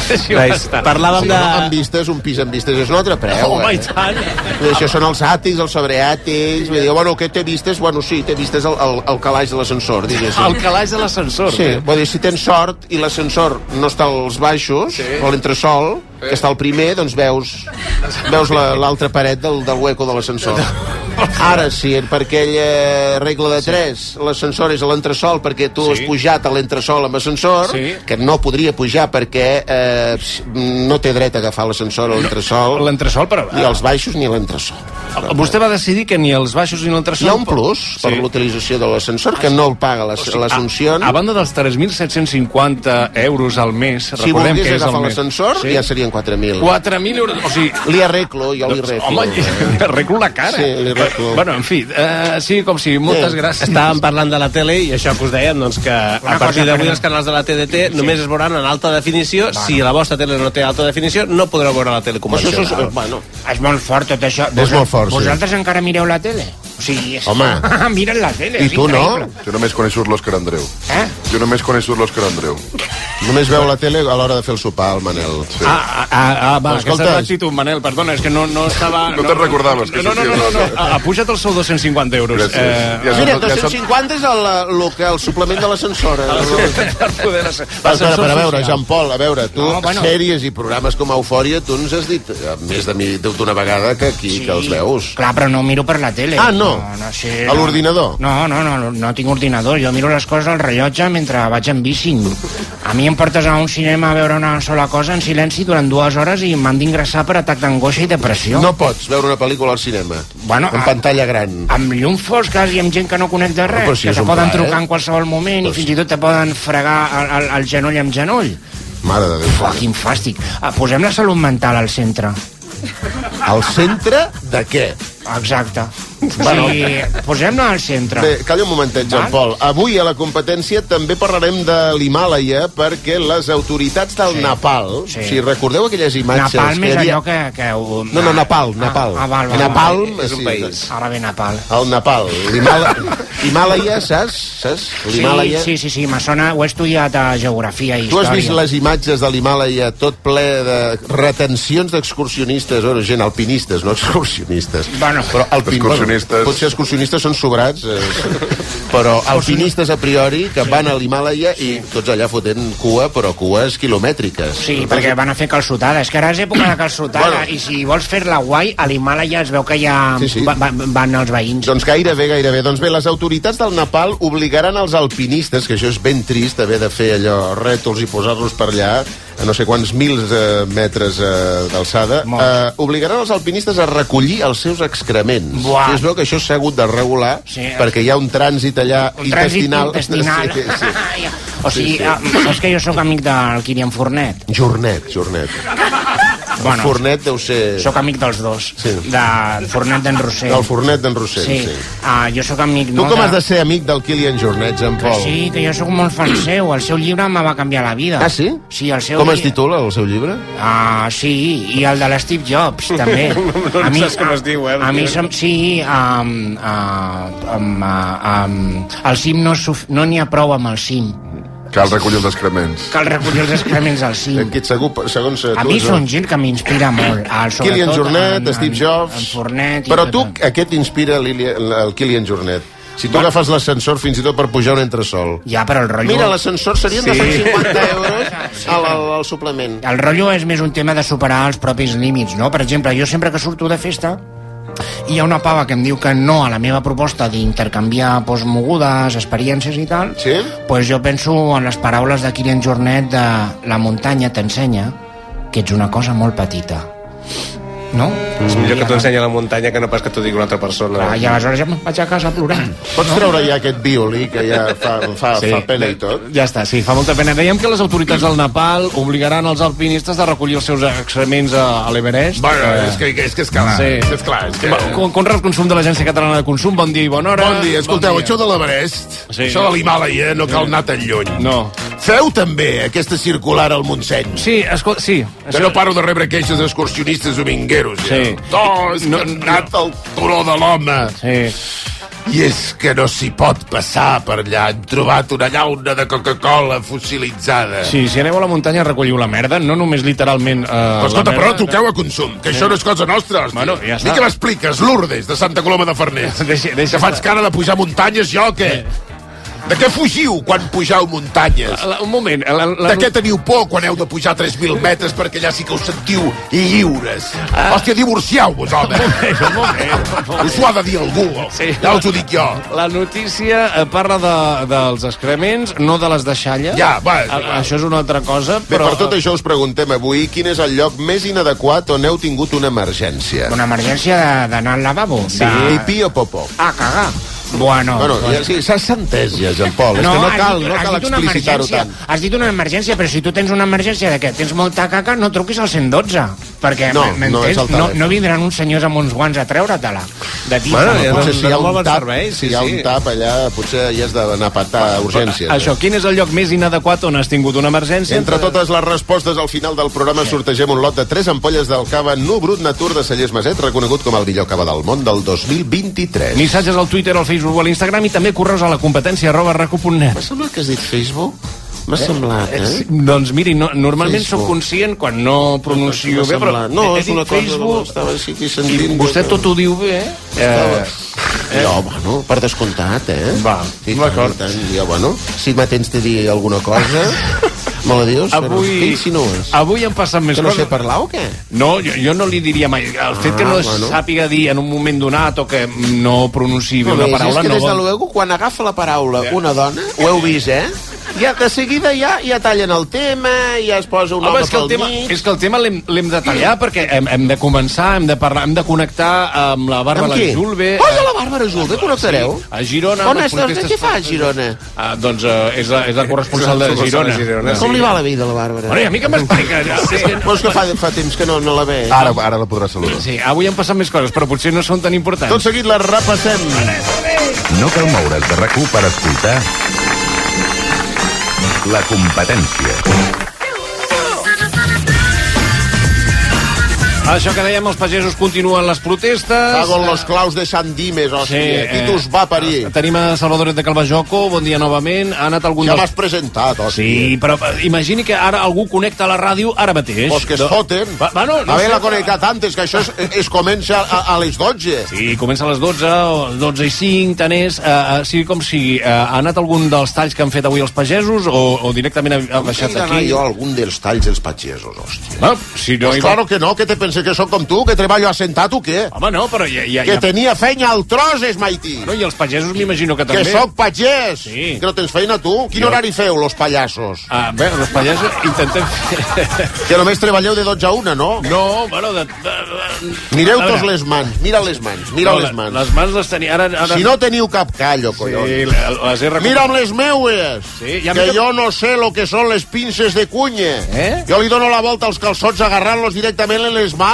Speaker 7: Sí, ho
Speaker 9: Reis,
Speaker 7: està.
Speaker 9: parlàvem
Speaker 5: Sí,
Speaker 9: de...
Speaker 5: no, amb vistes, un pis amb vistes és un altre preu.
Speaker 7: Home, i
Speaker 5: eh?
Speaker 7: tant.
Speaker 5: I això són els àtics, els sobreàtics... Vull dir, bueno, què té vistes? Bueno, sí, té vistes al, al, al calaix de l'ascensor, diguéssim.
Speaker 7: El calaix de l'ascensor. eh?
Speaker 5: Sí, vull dir, si tens sort i l'ascensor no està als baixos, sí. o l'entresol, que està al primer, doncs veus, veus la- l'altra paret del, del hueco de l'ascensor. Ara sí, per aquella regla de 3, l'ascensor és a l'entresol perquè tu has pujat a l'entresol amb ascensor,
Speaker 7: Sí.
Speaker 5: que no podria pujar perquè eh, no té dret a agafar l'ascensor a l'entresol,
Speaker 7: L'entresol, però... eh,
Speaker 5: ni als baixos ni a l'entresol.
Speaker 7: Vostè va decidir que ni els baixos ni l'entresol...
Speaker 5: Hi ha un plus per
Speaker 7: Sí. Ah,
Speaker 5: l'utilització de l'ascensor que no el paga l'as- l'Assumpció.
Speaker 7: A banda dels 3.750 euros al mes,
Speaker 5: Si
Speaker 7: recordem
Speaker 5: volgués
Speaker 7: que és
Speaker 5: agafar
Speaker 7: el mes.
Speaker 5: l'ascensor, ja serien 4.000.
Speaker 7: 4.000 euros... O sigui,
Speaker 5: Li arreglo, jo li arreglo.
Speaker 7: Home, (laughs) li arreglo la cara.
Speaker 5: Sí, li arreglo.
Speaker 7: Bueno, en fi, uh, sí, com si, moltes
Speaker 5: Sí.
Speaker 7: gràcies.
Speaker 9: Estàvem parlant de la tele i això que us dèiem, doncs que a partir d'avui els canals de la TDT només es veuran en alta definició. Si la vostra tele no té alta definició, no podreu veure la tele
Speaker 5: Però això és...
Speaker 9: convencional.
Speaker 5: Bueno,
Speaker 10: És molt fort tot això.
Speaker 5: És molt fort, sí.
Speaker 10: Vosaltres encara mireu la tele? O sigui, és...
Speaker 5: Home.
Speaker 10: Miren Ah, la tele,
Speaker 5: I
Speaker 10: és
Speaker 5: tu no?
Speaker 10: increïble.
Speaker 8: Jo només coneixo l'Òscar Andreu.
Speaker 10: Eh?
Speaker 8: Jo només coneixo l'Òscar Andreu.
Speaker 5: Només veu la tele a l'hora de fer el sopar, el Manel. Sí.
Speaker 7: Ah, ah, ah, ah, va,
Speaker 5: Escolta.
Speaker 7: aquesta és l'actitud, Manel, perdona, és que no, no estava...
Speaker 8: No te'n recordaves, que
Speaker 7: No, no, no, no, no.
Speaker 8: sortia.
Speaker 7: Ha, ha pujat el seu 250 euros.
Speaker 8: Gràcies.
Speaker 7: Eh,
Speaker 8: Ja
Speaker 5: Mira,
Speaker 8: són- ja són-
Speaker 5: 250 és el, el, que, el suplement de l'ascensor. eh?
Speaker 7: per poder asc-
Speaker 5: Espera,
Speaker 7: ascensor
Speaker 5: espera, a veure,
Speaker 7: Ah, social.
Speaker 5: Jean-Paul, a veure, tu,
Speaker 10: No, bueno.
Speaker 5: sèries i programes com Eufòria, tu ens has dit eh, més de mi- d'una vegada que aquí, que els veus.
Speaker 10: Clar, però no miro per la tele.
Speaker 5: Ah, no?
Speaker 10: no, no sé,
Speaker 5: A l'ordinador?
Speaker 10: No, no, no, no tinc ordinador. Jo miro les coses al rellotge mentre vaig en bici. A mi em portes a un cinema a veure una sola cosa en silenci durant dues hores i m'han d'ingressar per atac d'angoixa i depressió.
Speaker 5: No pots veure una pel·lícula al cinema,
Speaker 10: Bueno,
Speaker 5: en
Speaker 10: ah.
Speaker 5: pantalla gran.
Speaker 10: Amb llum fosques i amb gent que no conec de res,
Speaker 5: però si
Speaker 10: que
Speaker 5: és
Speaker 10: te
Speaker 5: un
Speaker 10: poden
Speaker 5: pla, eh?
Speaker 10: trucar en qualsevol moment
Speaker 5: Pues-
Speaker 10: i fins i tot te poden fregar el, el, el genoll amb genoll.
Speaker 5: Mare de Déu.
Speaker 10: Oh, quin fàstic. Ah, Posem la salut mental al centre.
Speaker 5: Al centre de què? (laughs)
Speaker 10: Exacte. Bueno. O sigui, posem-la al centre.
Speaker 5: Bé, calla un momentet, Jean-Paul. Avui a la competència també parlarem de l'Himàlaia perquè les autoritats del sí. Nepal,
Speaker 10: Sí.
Speaker 5: sí. si recordeu aquelles imatges...
Speaker 10: Napalm
Speaker 5: que hi
Speaker 10: és
Speaker 5: havia-
Speaker 10: allò que... que ho...
Speaker 5: No, no, Nepal, Nepal.
Speaker 10: Ah, ah val, val,
Speaker 5: Napalm,
Speaker 9: És un
Speaker 5: sí,
Speaker 9: país.
Speaker 10: Ara ve Napal.
Speaker 5: El Nepal. L'Himàla- L'Himàlaia, saps? saps?
Speaker 10: Sí,
Speaker 5: L'Himàlaia...
Speaker 10: sí, sí, sí, me sona, ho he estudiat a geografia i
Speaker 5: Tu has
Speaker 10: història.
Speaker 5: vist les imatges de l'Himàlaia tot ple de retencions d'excursionistes, o gent alpinistes, no excursionistes.
Speaker 10: Bueno.
Speaker 5: però alpin,
Speaker 8: Excursionistes.
Speaker 5: Bueno, potser excursionistes són sobrats, eh, però alpinistes a priori que van a l'Himàlaia i tots allà fotent cua, però cues quilomètriques.
Speaker 10: Sí, perquè van a fer calçotada. És que ara és època de calçotada
Speaker 5: Doncs- Bueno.
Speaker 10: bueno. i si vols fer-la guai, a l'Himàlaia es veu que ja
Speaker 5: Sí, sí.
Speaker 10: Va, va, van els veïns.
Speaker 5: Doncs gairebé, gairebé. Doncs bé, les autoritats del Nepal obligaran els alpinistes, que això és ben trist, haver de fer allò, rètols i posar-los per allà, a no sé quants mils eh, metres eh, d'alçada,
Speaker 10: Molts.
Speaker 5: eh, obligaran els alpinistes a recollir els seus excrements.
Speaker 10: Buah.
Speaker 5: I es veu que això s'ha hagut de regular,
Speaker 10: Sí.
Speaker 5: perquè hi ha un trànsit allà
Speaker 10: Un trànsit intestinal.
Speaker 5: intestinal. (laughs) Sí, sí.
Speaker 10: (laughs) o sigui,
Speaker 5: Sí, sí.
Speaker 10: ah, saps que jo sóc amic del Kirian Fornet?
Speaker 5: Jornet, jornet. Bueno.
Speaker 10: Bueno,
Speaker 5: Fornet deu ser...
Speaker 10: sóc amic dels dos.
Speaker 5: Sí.
Speaker 10: De Fornet d'en Rossell.
Speaker 5: El fornet d'en Rossell,
Speaker 10: Sí.
Speaker 5: sí. sí.
Speaker 10: Ah, jo sóc amic...
Speaker 5: Tu
Speaker 10: no,
Speaker 5: com has de ser amic del Kilian Jornet, Jean-Paul?
Speaker 10: Sí, que jo sóc molt fan seu. El seu llibre me va canviar la vida.
Speaker 5: Ah, sí?
Speaker 10: Sí, el seu
Speaker 5: Com es
Speaker 10: llibre-
Speaker 5: titula el seu llibre?
Speaker 10: Ah, sí, i el de l'Steve Jobs, també.
Speaker 9: (laughs) no saps com es diu, eh?
Speaker 10: A, a mi som, sí, um, uh, um, uh, um, el cim no, suf- no n'hi ha prou amb el cim.
Speaker 8: Cal recollir els excrements.
Speaker 10: Cal recollir els excrements al cim.
Speaker 5: Aquest segur, segons eh,
Speaker 10: A
Speaker 5: tu,
Speaker 10: mi
Speaker 5: és
Speaker 10: són gent que m'inspira molt. El, sobretot
Speaker 5: Kilian Jornet,
Speaker 10: en,
Speaker 5: Steve
Speaker 10: en-
Speaker 5: Jobs...
Speaker 10: En Fornet... i
Speaker 5: Però
Speaker 10: tot
Speaker 5: tu,
Speaker 10: el-
Speaker 5: a què t'inspira l'Ili- el Kilian Jornet? Si tu agafes l'ascensor fins i tot per pujar un entresol.
Speaker 10: Ja, però el rotllo...
Speaker 5: Mira, l'ascensor serien sí. de 150
Speaker 10: (laughs)
Speaker 5: euros
Speaker 10: Sí,
Speaker 5: al, al, al suplement.
Speaker 10: El rotllo és més un tema de superar els propis límits, no? Per exemple, jo sempre que surto de festa hi ha una pava que em diu que no a la meva proposta d'intercanviar pues, mogudes, experiències i tal,
Speaker 5: Sí?
Speaker 10: pues jo penso en les paraules de Kilian Jornet de la muntanya t'ensenya que ets una cosa molt petita. No?
Speaker 9: És millor que t'ho ensenya la muntanya que no pas que t'ho digui una altra persona.
Speaker 10: I aleshores ja me'n vaig a casa plorant.
Speaker 5: Pots treure ja aquest violí que ja fa, fa, sí. fa pena i tot?
Speaker 7: Ja està, sí, fa molta pena. Dèiem que les autoritats del Nepal obligaran els alpinistes a recollir els seus excrements a, a l'Everest.
Speaker 11: Bueno, és que, és que és clar,
Speaker 7: Sí.
Speaker 11: és que és clar. És que...
Speaker 7: Va, Con- Conrad Consum de l'Agència Catalana de Consum, bon dia i bona hora.
Speaker 11: Bon dia, escolteu,
Speaker 7: Bon dia.
Speaker 11: això de l'Everest,
Speaker 7: Sí.
Speaker 11: això de l'Himàlaia, no cal anar tan lluny.
Speaker 7: No.
Speaker 11: Feu també aquesta circular al Montseny.
Speaker 7: Sí, escolta, sí.
Speaker 11: Que no paro de rebre queixes d'excursionistes domingueros.
Speaker 7: Sí.
Speaker 11: Ja. Oh, és que no, han anat al turó de l'home.
Speaker 7: Sí.
Speaker 11: I és que no s'hi pot passar per allà. Hem trobat una llauna de Coca-Cola fossilitzada.
Speaker 7: Sí, si aneu a la muntanya recolliu la merda, no només literalment... Eh,
Speaker 11: Però escolta,
Speaker 7: la
Speaker 11: però
Speaker 7: merda,
Speaker 11: toqueu a consum, que això no és cosa nostra, hòstia.
Speaker 7: Bueno, ja està.
Speaker 11: Ni que m'expliques, Lourdes, de Santa Coloma de
Speaker 7: (laughs)
Speaker 11: Farners.
Speaker 7: Deixa- deixa-
Speaker 11: que faig cara de pujar muntanyes, jo, què? De què fugiu quan pugeu muntanyes?
Speaker 7: La- un moment. La, la...
Speaker 11: De què teniu por quan heu de pujar 3.000 metres perquè allà sí que us sentiu lliures? Ah. Hòstia, divorcieu-vos, home!
Speaker 7: Un moment, un moment.
Speaker 11: Us ho ha de dir algú, sí. ja us ho dic jo.
Speaker 7: La notícia eh, parla de, dels excrements, no de les deixalles.
Speaker 11: Ja, va,
Speaker 7: A, això és una altra cosa,
Speaker 5: Bé,
Speaker 7: però...
Speaker 5: per tot això us preguntem avui quin és el lloc més inadequat on heu tingut una emergència.
Speaker 10: Una emergència de- d'anar al lavabo.
Speaker 5: Sí. Pipí o popó.
Speaker 10: Ah, cagar. Bueno,
Speaker 5: Bueno, ja, sí, s'ha entès ja, Jean-Paul. No, és que no
Speaker 10: has
Speaker 5: cal,
Speaker 10: dit-
Speaker 5: no
Speaker 10: has
Speaker 5: cal
Speaker 10: dit una
Speaker 5: explicitar-ho
Speaker 10: emergència.
Speaker 5: tant.
Speaker 10: Has dit una emergència, però si tu tens una emergència de que tens molta caca, no truquis al 112. Perquè,
Speaker 5: No,
Speaker 10: m-
Speaker 5: no
Speaker 10: m'entens?
Speaker 5: és el
Speaker 10: no,
Speaker 5: telèfon.
Speaker 10: no vindran uns senyors amb uns guants a treure-te-la. De dins.
Speaker 5: Bueno,
Speaker 10: de la
Speaker 5: ja,
Speaker 10: boca.
Speaker 5: potser si hi ha
Speaker 9: molt
Speaker 5: un
Speaker 9: bon
Speaker 5: tap,
Speaker 9: servei, sí,
Speaker 5: si hi ha un
Speaker 9: sí.
Speaker 5: tap allà, potser hi has d'anar a patar a urgències.
Speaker 7: Això, quin és el lloc més inadequat on has tingut una emergència?
Speaker 5: Entre totes les respostes, al final del programa sortegem un lot de 3 ampolles del cava Nu Brut Natur de Cellers Maset, reconegut com el millor cava del món del 2023.
Speaker 7: Missatges al Twitter, al Facebook o a l'Instagram i també correus a la competència arroba
Speaker 5: M'ha
Speaker 7: recu.net.
Speaker 5: semblat que has dit Facebook? M'ha semblat, eh?
Speaker 7: Sí, Doncs miri, no, normalment
Speaker 5: Facebook.
Speaker 7: sóc conscient quan no pronuncio
Speaker 5: M'ha
Speaker 7: bé, però...
Speaker 5: semblat. No,
Speaker 7: he- he
Speaker 5: és una
Speaker 7: dit
Speaker 5: cosa... no,
Speaker 7: Facebook,
Speaker 5: Estava així aquí sentint...
Speaker 7: vostè tot ho diu bé, eh?
Speaker 5: Eh... Jo, bueno, per descomptat, eh?
Speaker 7: Va,
Speaker 5: I tant,
Speaker 7: d'acord.
Speaker 5: i tant, Jo, bueno, si m'atens de dir alguna cosa, me la dius? Què
Speaker 7: Avui,
Speaker 5: insinues?
Speaker 7: avui han passat més
Speaker 5: Que no sé
Speaker 7: coses.
Speaker 5: parlar o què?
Speaker 7: No, jo, jo no li diria mai. El fet que no
Speaker 5: Ah, bueno.
Speaker 7: sàpiga dir en un moment donat o que no pronunciï bé una
Speaker 5: Només,
Speaker 7: paraula...
Speaker 5: és que
Speaker 7: no
Speaker 5: des de
Speaker 7: vol-
Speaker 5: luego, quan agafa la paraula una dona, ho heu vist, eh? Ja, de seguida ja, ja tallen el tema, ja es posa un
Speaker 7: Home,
Speaker 5: home
Speaker 7: Ah, és que el
Speaker 5: pel
Speaker 7: tema,
Speaker 5: mig...
Speaker 7: és que el tema l'hem l'hem de tallar perquè hem, hem de començar, hem de parlar, hem de connectar amb la eh,
Speaker 5: Amb
Speaker 7: Bàrbara
Speaker 5: qui?
Speaker 7: Julve.
Speaker 5: Oh, i a la Bàrbara Julve, connectareu?
Speaker 7: Sí, a Girona. amb
Speaker 5: On
Speaker 7: les
Speaker 5: estàs?
Speaker 7: protestes
Speaker 5: Què fa a
Speaker 7: per-
Speaker 5: Girona?
Speaker 7: Ah, doncs eh, és, la, és la corresponsal de
Speaker 9: És la corresponsal
Speaker 7: Girona.
Speaker 9: de Girona.
Speaker 5: Com li va la vida, a la Bàrbara?
Speaker 7: Bueno, i a mi que m'explica? Sí.
Speaker 5: Però és que fa, fa temps que no, no la veig.
Speaker 7: Ah.
Speaker 11: Ara, ara la podrà saludar.
Speaker 7: sí, avui han passat més coses, però potser no són tan importants.
Speaker 5: Tot seguit la repassem.
Speaker 4: No cal moure's de rac per escoltar la competència.
Speaker 7: Això que dèiem, els pagesos continuen les protestes.
Speaker 5: Hago los claus de Sant Dimes, hòstia. Sí,
Speaker 7: eh,
Speaker 5: Titus va a parir.
Speaker 7: Tenim a Salvador de Calvajoco, bon dia novament. Ha anat algun
Speaker 5: Ja
Speaker 7: dels...
Speaker 5: m'has presentat, hòstia.
Speaker 7: Sí, però eh, imagini que ara algú connecta a la ràdio ara mateix.
Speaker 5: Pues que es
Speaker 7: No.
Speaker 5: foten.
Speaker 7: Va- va, no, no sé,
Speaker 5: Haver-la
Speaker 7: però-
Speaker 5: connectat antes, que això es, es comença a, a les 12.
Speaker 7: Sí, comença a les 12, o 12 i 5, tant és. Eh, eh, sigui com sigui, eh, ha anat algun dels talls que han fet avui els pagesos o, o directament ha, ha baixat
Speaker 5: He d'anar
Speaker 7: aquí?
Speaker 5: jo a algun dels talls dels pagesos, hòstia.
Speaker 7: Va, si no
Speaker 5: Pues
Speaker 7: hi va...
Speaker 5: claro que no, que te penses que sóc com tu, que treballo assentat o què?
Speaker 7: Home, no, però ja... ja,
Speaker 5: Que
Speaker 7: ja...
Speaker 5: tenia feina al tros, és maití.
Speaker 7: No, I els pagesos m'imagino que
Speaker 5: Que
Speaker 7: també...
Speaker 5: sóc pagès.
Speaker 7: Sí.
Speaker 5: Que no tens feina tu. Quin
Speaker 7: Jo-
Speaker 5: horari feu, los pallassos?
Speaker 7: Ah, bé, els pagesos intentem...
Speaker 5: Que només treballeu de 12 a 1, (laughs) no?
Speaker 7: No, (laughs) bueno, de... de, de...
Speaker 5: Mireu
Speaker 7: A
Speaker 5: tots
Speaker 7: veure,
Speaker 5: les mans, mira les mans, mira
Speaker 7: no,
Speaker 5: les
Speaker 7: Les
Speaker 5: mans.
Speaker 7: mans les tenia... Ara, ara...
Speaker 5: Si no teniu cap callo, collons.
Speaker 7: Sí, les he recuperat.
Speaker 5: Mira'm les meues,
Speaker 7: Sí,
Speaker 5: sí,
Speaker 7: ja
Speaker 5: ja que
Speaker 7: mira-
Speaker 5: jo no sé lo que són les pinces de cunya.
Speaker 7: Eh?
Speaker 5: Jo li dono la volta als calçots agarrant-los directament en les mans.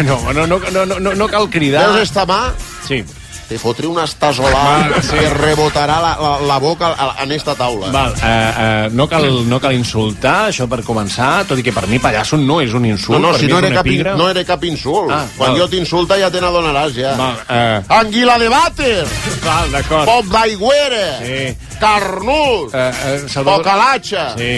Speaker 7: No, no, no, no, no, no cal cridar.
Speaker 5: Veus esta mà?
Speaker 7: Sí.
Speaker 5: Te fotré una estasolada
Speaker 7: Val, sí.
Speaker 5: que rebotarà la, la, la boca a, en esta taula.
Speaker 7: Val, eh, eh, no, cal, no cal insultar, això per començar, tot i que per mi pallasso no és un
Speaker 5: No,
Speaker 7: insult.
Speaker 5: no,
Speaker 7: per
Speaker 5: si
Speaker 7: mi
Speaker 5: no
Speaker 7: és
Speaker 5: era,
Speaker 7: un
Speaker 5: cap, in-
Speaker 7: epígraf.
Speaker 5: no era cap insult.
Speaker 7: Ah,
Speaker 5: Ah, Quan
Speaker 7: val.
Speaker 5: jo t'insulta ja te n'adonaràs, ja.
Speaker 7: Val, eh,
Speaker 5: Anguila de vàter,
Speaker 7: val d'acord.
Speaker 5: pop d'aigüera,
Speaker 7: Sí.
Speaker 5: carnús,
Speaker 7: Eh, eh, Salvador...
Speaker 5: bocalatxa.
Speaker 7: Sí.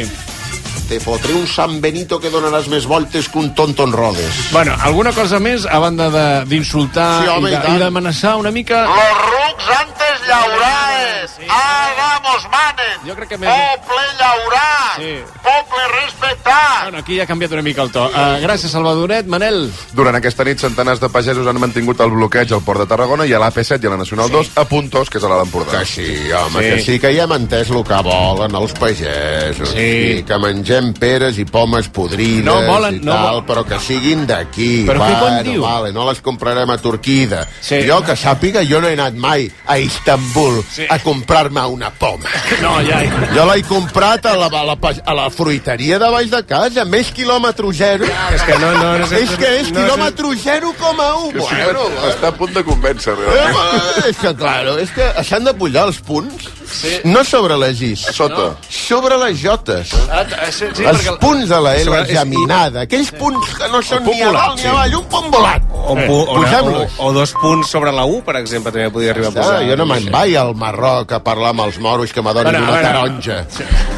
Speaker 5: Te fotré un San Benito que donaràs més voltes que un tonton rodes.
Speaker 7: Bueno, alguna cosa més, a banda de- d'insultar
Speaker 5: Sí, home,
Speaker 7: i de-
Speaker 5: i tant. Ah.
Speaker 7: i d'amenaçar una mica...
Speaker 8: Los rucs antes llaurades. Hagamos manes.
Speaker 7: Jo crec que més-
Speaker 8: Poble llaurar.
Speaker 7: Sí.
Speaker 8: Poble respectar.
Speaker 7: Bueno, aquí ja ha canviat una mica el to. Eh, gràcies, Salvadoret. Manel,
Speaker 12: Durant aquesta nit, centenars de pagesos han mantingut el bloqueig al Port de Tarragona i a l'AP7 i a la Nacional 2 a Puntos, que és a l'Alt Empordà.
Speaker 5: Que sí, home, sí. que sí que ja hem entès el que volen els pagesos.
Speaker 7: Sí.
Speaker 5: que mengem peres i pomes podrides
Speaker 7: No volen-
Speaker 5: i
Speaker 7: no
Speaker 5: tal,
Speaker 7: vol-
Speaker 5: però que siguin d'aquí.
Speaker 7: Però què quan diu?
Speaker 5: Vale, no les comprarem a Turquida.
Speaker 7: Sí.
Speaker 5: Sí. Jo, que sàpiga, jo no he anat mai a Istanbul
Speaker 7: Sí.
Speaker 5: a comprar-me una poma.
Speaker 7: No, ja, ja.
Speaker 5: Jo l'he comprat a la, a la pa- a la fruiteria de baix de casa, més quilòmetre zero.
Speaker 9: És que no, no,
Speaker 7: (laughs)
Speaker 9: no sé-
Speaker 5: és que és
Speaker 9: no sé-
Speaker 5: quilòmetre 0,1.
Speaker 3: Que sí, està a punt de convèncer,
Speaker 5: Eh,
Speaker 3: realment.
Speaker 5: és que, claro, és que s'han de pujar els punts, sí. no sobre les is,
Speaker 3: Sota.
Speaker 5: sobre les jotes.
Speaker 7: Ah,
Speaker 5: Eh,
Speaker 7: t- sí, sí,
Speaker 5: els
Speaker 7: perquè el-
Speaker 5: punts de la L
Speaker 7: Sobre- és-
Speaker 5: geminada, aquells punts que no són ni
Speaker 9: volat,
Speaker 5: avall ni
Speaker 9: sí.
Speaker 5: avall, un punt volat.
Speaker 9: O, un pu- o, una- o,
Speaker 5: Posem-los.
Speaker 9: o dos punts sobre la U, per exemple, també podria arribar a
Speaker 5: Ah,
Speaker 9: posar.
Speaker 5: jo no me'n vaig al Marroc a parlar amb els moros que m'adonin
Speaker 9: Bueno,
Speaker 5: una
Speaker 9: bueno.
Speaker 5: taronja.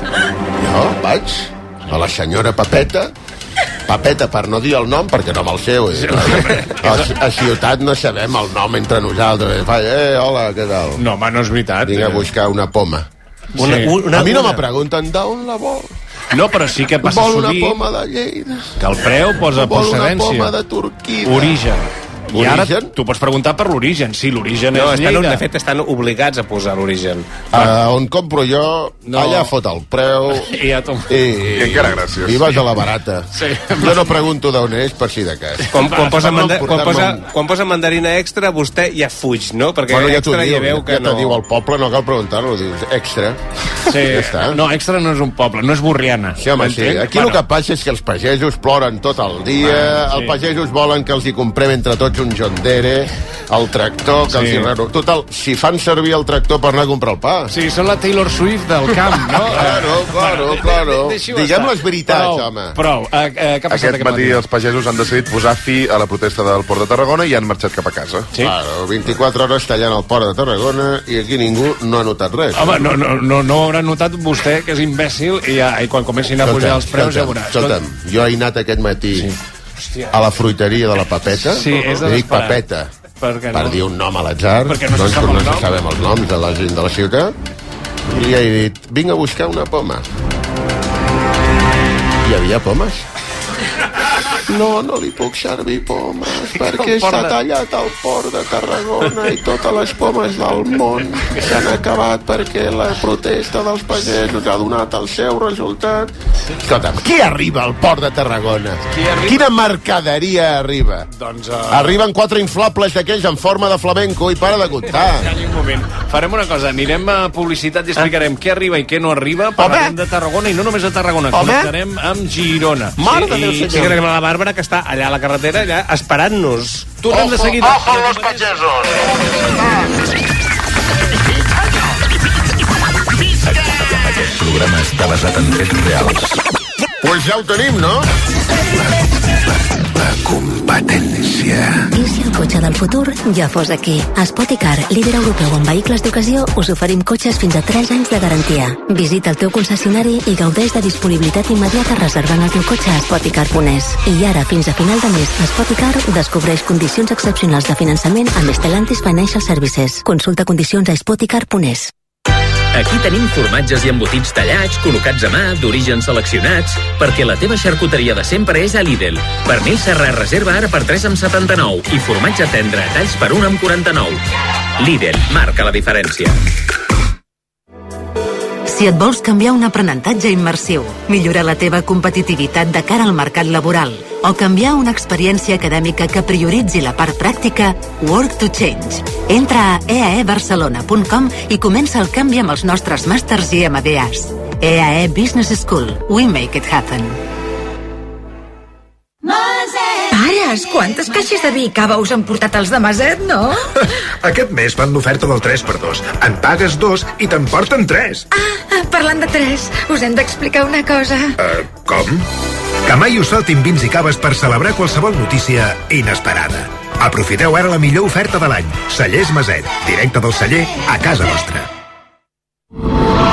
Speaker 5: Jo vaig a la senyora Papeta, Papeta per no dir el nom, perquè no me'l sé. vull dir. A, a Ciutat no sabem el nom entre nosaltres. Fa, eh, hola, què tal?
Speaker 7: No, home, no és veritat.
Speaker 5: Vinc a buscar una poma.
Speaker 7: Una- una-
Speaker 5: a mi no
Speaker 7: una.
Speaker 5: me pregunten d'on la vol.
Speaker 7: No, però sí que passa
Speaker 5: vol una
Speaker 7: sovint
Speaker 5: poma de Lleida.
Speaker 7: que el preu posa
Speaker 5: vol una
Speaker 7: procedència.
Speaker 5: poma de Turquia.
Speaker 7: Origen. I ara
Speaker 5: Origen?
Speaker 7: tu pots preguntar per l'origen. Sí, l'origen
Speaker 9: No,
Speaker 7: és
Speaker 9: estan,
Speaker 7: Lleida.
Speaker 9: de fet, estan obligats a posar l'origen.
Speaker 5: Uh, on compro jo, no. allà fot el preu.
Speaker 7: I ja t'ho...
Speaker 5: I,
Speaker 3: I encara gràcies.
Speaker 5: I vas a la barata.
Speaker 7: Sí.
Speaker 5: Jo no pregunto d'on és, per si de cas.
Speaker 9: Quan, quan, posa manda, quan, posa,
Speaker 5: portar-me
Speaker 9: quan posa mandarina extra, vostè ja fuig, no? Perquè
Speaker 5: Bueno, ja t'ho
Speaker 9: extra
Speaker 5: diu,
Speaker 9: ja veu que
Speaker 5: ja t'ho
Speaker 9: no.
Speaker 5: diu el poble, no cal preguntar-lo, dius extra.
Speaker 7: Sí.
Speaker 5: Ja està.
Speaker 7: No, extra no és un poble, no és Borriana.
Speaker 5: Sí, home, sí.
Speaker 7: M'entenc?
Speaker 5: Aquí el que passa és que els pagesos ploren tot el dia,
Speaker 7: Ah, sí.
Speaker 5: els pagesos volen que els hi comprem entre tots un John Deere, el tractor, que els
Speaker 7: Sí.
Speaker 5: hi reno... Total, si fan servir el tractor per anar a comprar el pa.
Speaker 7: Sí, Ah, són la Taylor Swift del camp, (laughs) no?
Speaker 5: Claro, claro, claro. Diguem les veritats,
Speaker 7: prou,
Speaker 5: home.
Speaker 7: Prou. Uh, uh, què ha passat
Speaker 3: Aquest matí els pagesos han decidit posar fi a la protesta del Port de Tarragona i han marxat cap a casa.
Speaker 7: Sí.
Speaker 5: Claro, 24 hores tallant el port de Tarragona i aquí ningú no ha notat res.
Speaker 7: Home, no, no, no, no ho haurà notat vostè, que és imbècil, i, ja, i quan comencin a pujar els preus ja veurà.
Speaker 5: Escolta'm, jo he anat aquest matí
Speaker 7: Hòstia.
Speaker 5: a la fruiteria de la Papeta.
Speaker 7: Sí, és de
Speaker 5: Li dic
Speaker 7: desesperar.
Speaker 5: Papeta.
Speaker 7: Perquè
Speaker 5: Per
Speaker 7: no.
Speaker 5: dir un nom a l'atzar,
Speaker 7: Perquè no se
Speaker 5: doncs
Speaker 7: sap el
Speaker 5: no se
Speaker 7: nom.
Speaker 5: sabem els noms de la gent de la ciutat, i li he dit, vinc a buscar una poma. Hi havia pomes? No, no li puc servir pomes, perquè
Speaker 7: El port
Speaker 5: s'ha
Speaker 7: de-
Speaker 5: tallat el port de Tarragona i totes les pomes del món s'han acabat perquè la protesta dels pagesos ha donat el seu resultat. Escolta'm, qui arriba al port de Tarragona? Quina mercaderia arriba?
Speaker 7: Doncs...
Speaker 5: Arriben quatre inflables d'aquells en forma de flamenco i para de comptar.
Speaker 7: Un moment. Farem una cosa, anirem a publicitat i
Speaker 5: Ah.
Speaker 7: explicarem què arriba i què no arriba. Parlarem de Tarragona i no només de Tarragona,
Speaker 5: Home!
Speaker 7: connectarem amb Girona.
Speaker 5: Mare de
Speaker 7: I-
Speaker 5: Déu,
Speaker 7: i-
Speaker 5: senyor.
Speaker 9: Sí que tenim la Bàrbara, que està allà a la carretera, allà, esperant-nos.
Speaker 7: Tornem de seguida.
Speaker 11: Ojo los pagesos.
Speaker 13: Aquest programa està basat en fets reals.
Speaker 5: Pues ja ho tenim, no?
Speaker 13: La competència.
Speaker 2: I si el cotxe del futur ja fos aquí? A Spoticar, líder europeu en vehicles d'ocasió, us oferim cotxes fins a 3 anys de garantia. Visita el teu concessionari i gaudeix de disponibilitat immediata reservant el teu cotxe a Spoticar.es. I ara, fins a final de mes, Spoticar descobreix condicions excepcionals de finançament amb Stellantis Financial Services. Consulta condicions a Spoticar.es.
Speaker 14: Aquí tenim formatges i embotits tallats, col·locats a mà, d'origen seleccionats, perquè la teva xarcuteria de sempre és a Lidl. Pernil Serra reserva ara per 3,79 i formatge tendre a talls per 1,49. Lidl marca la diferència.
Speaker 15: Si et vols canviar un aprenentatge immersiu, millorar la teva competitivitat de cara al mercat laboral o canviar una experiència acadèmica que prioritzi la part pràctica, Work to Change. Entra a eaebarcelona.com i comença el canvi amb els nostres màsters i MBAs. EAE E Business School. We make it happen.
Speaker 16: Pares, quantes caixes de vi i cava us han portat els de Maset, no?
Speaker 4: Aquest mes fan l'oferta del 3x2. En pagues dos i te'n porten tres.
Speaker 16: Ah, Parlant de tres, us hem d'explicar una cosa.
Speaker 4: Uh, com? Que mai us faltin vins i caves per celebrar qualsevol notícia inesperada. Aprofiteu ara la millor oferta de l'any. Cellers Maset, directe del celler a casa vostra.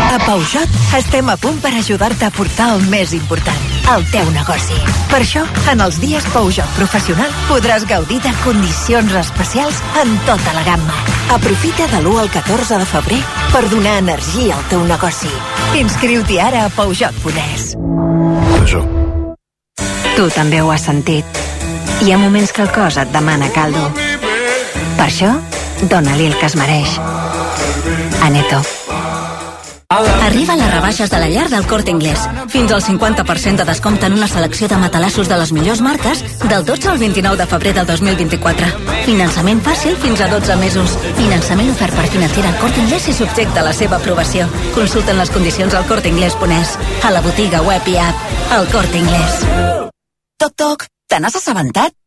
Speaker 16: A Peugeot estem a punt per ajudar-te a portar el més important, el teu negoci. Per això, en els dies Peugeot Professional podràs gaudir de condicions especials en tota la gamma. Aprofita de l'1 al 14 de febrer per donar energia al teu negoci. Inscriu-t'hi ara a Peugeot.es.
Speaker 4: Això.
Speaker 17: Tu també ho has sentit. Hi ha moments que el cos et demana caldo. Per això, dona-li el que es mereix. Aneto.
Speaker 2: Arriben les rebaixes de la llar del Corte Inglés. Fins al 50% de descompte en una selecció de matalassos de les millors marques del 12 al 29 de febrer del 2024. Finançament fàcil fins a 12 mesos. Finançament ofert per financera al Corte Inglés i subjecte a la seva aprovació. Consulten les condicions al Corte Inglés Ponès, a la botiga web i app, al Corte Inglés.
Speaker 16: Toc, toc, te n'has assabentat?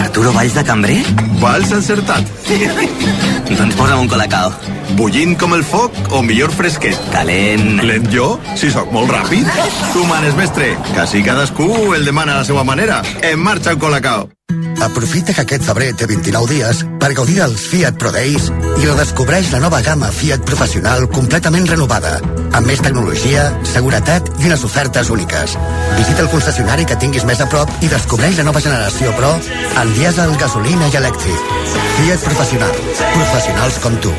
Speaker 18: Arturo Valls de Cambrer? Valls encertat. (laughs) doncs posa'm un colacao. Bullint com el foc o millor fresquet? Calent. Lent jo? Si sóc molt ràpid. Tu manes, mestre, que si cadascú el demana a la seva manera. En marxa el colacao.
Speaker 19: Aprofita que aquest febrer té 29 dies per gaudir dels Fiat Pro Days i redescobreix la nova gamma Fiat Professional completament renovada, amb més tecnologia, seguretat i unes ofertes úniques. Visita el concessionari que tinguis més a prop i descobreix la nova generació Pro en dièsel, gasolina i elèctric. Fiat Professional. Professionals com tu.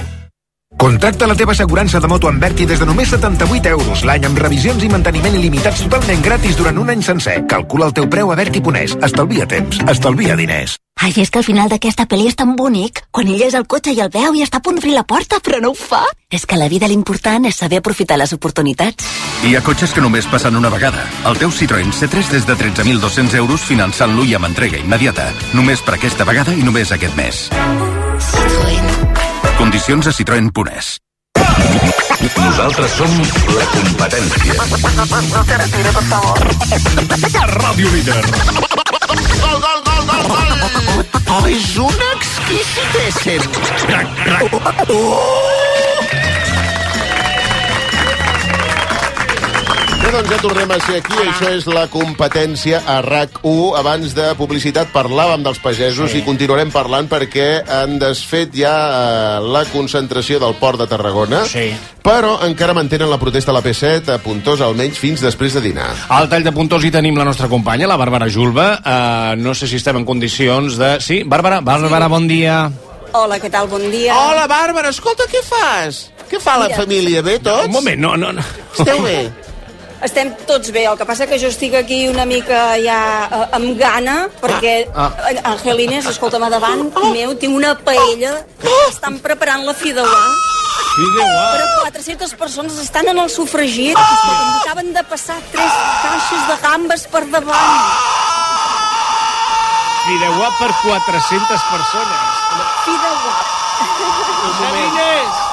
Speaker 20: Contracta la teva assegurança de moto amb Berti des de només 78 euros l'any amb revisions i manteniment il·limitats totalment gratis durant un any sencer. Calcula el teu preu a Berti Ponès. Estalvia temps. Estalvia diners.
Speaker 21: Ai, és que al final d'aquesta pel·li és tan bonic. Quan ell és al cotxe i el veu i està a punt d'obrir la porta, però no ho fa. És que a la vida l'important és saber aprofitar les oportunitats.
Speaker 22: Hi ha cotxes que només passen una vegada. El teu Citroën C3 des de 13.200 euros finançant-lo i amb entrega immediata. Només per aquesta vegada i només aquest mes. Condicions a Citroën Punès.
Speaker 4: Nosaltres som la competència. Ràdio Líder.
Speaker 8: Gol, gol, gol, gol, gol! Oh, és un exquisit ésser. Crac, crac.
Speaker 5: Bé, doncs ja tornem a ser aquí. Això és la competència a RAC1. Abans de publicitat parlàvem dels pagesos sí. i continuarem parlant perquè han desfet ja eh, la concentració del port de Tarragona. Sí. Però encara mantenen la protesta a la P7 a Puntós almenys fins després de dinar.
Speaker 7: Al tall de puntós hi tenim la nostra companya, la Bàrbara Julba. Uh, no sé si estem en condicions de... Sí, Bàrbara, Bàrbara, bon dia.
Speaker 23: Hola, què tal? Bon dia.
Speaker 5: Hola, Bàrbara, escolta, què fas? Què fa la
Speaker 23: Mira.
Speaker 5: família? Bé, tots?
Speaker 7: Un
Speaker 9: Eh,
Speaker 7: moment, no, no, no.
Speaker 5: Esteu bé?
Speaker 23: Estem tots bé, el que passa que jo estic aquí una mica ja eh, amb gana, perquè ah,
Speaker 5: Ah, ah. Oh,
Speaker 23: ah. Angelines, escolta'm, a davant meu tinc una paella que estan preparant la fideuà.
Speaker 7: Fideuà?
Speaker 23: Però 400 persones estan en el sofregit
Speaker 5: Oh.
Speaker 23: i escolta'm, acaben de passar tres caixes de gambes per davant.
Speaker 7: Fideuà per 400 persones.
Speaker 23: Fideuà. Angelines!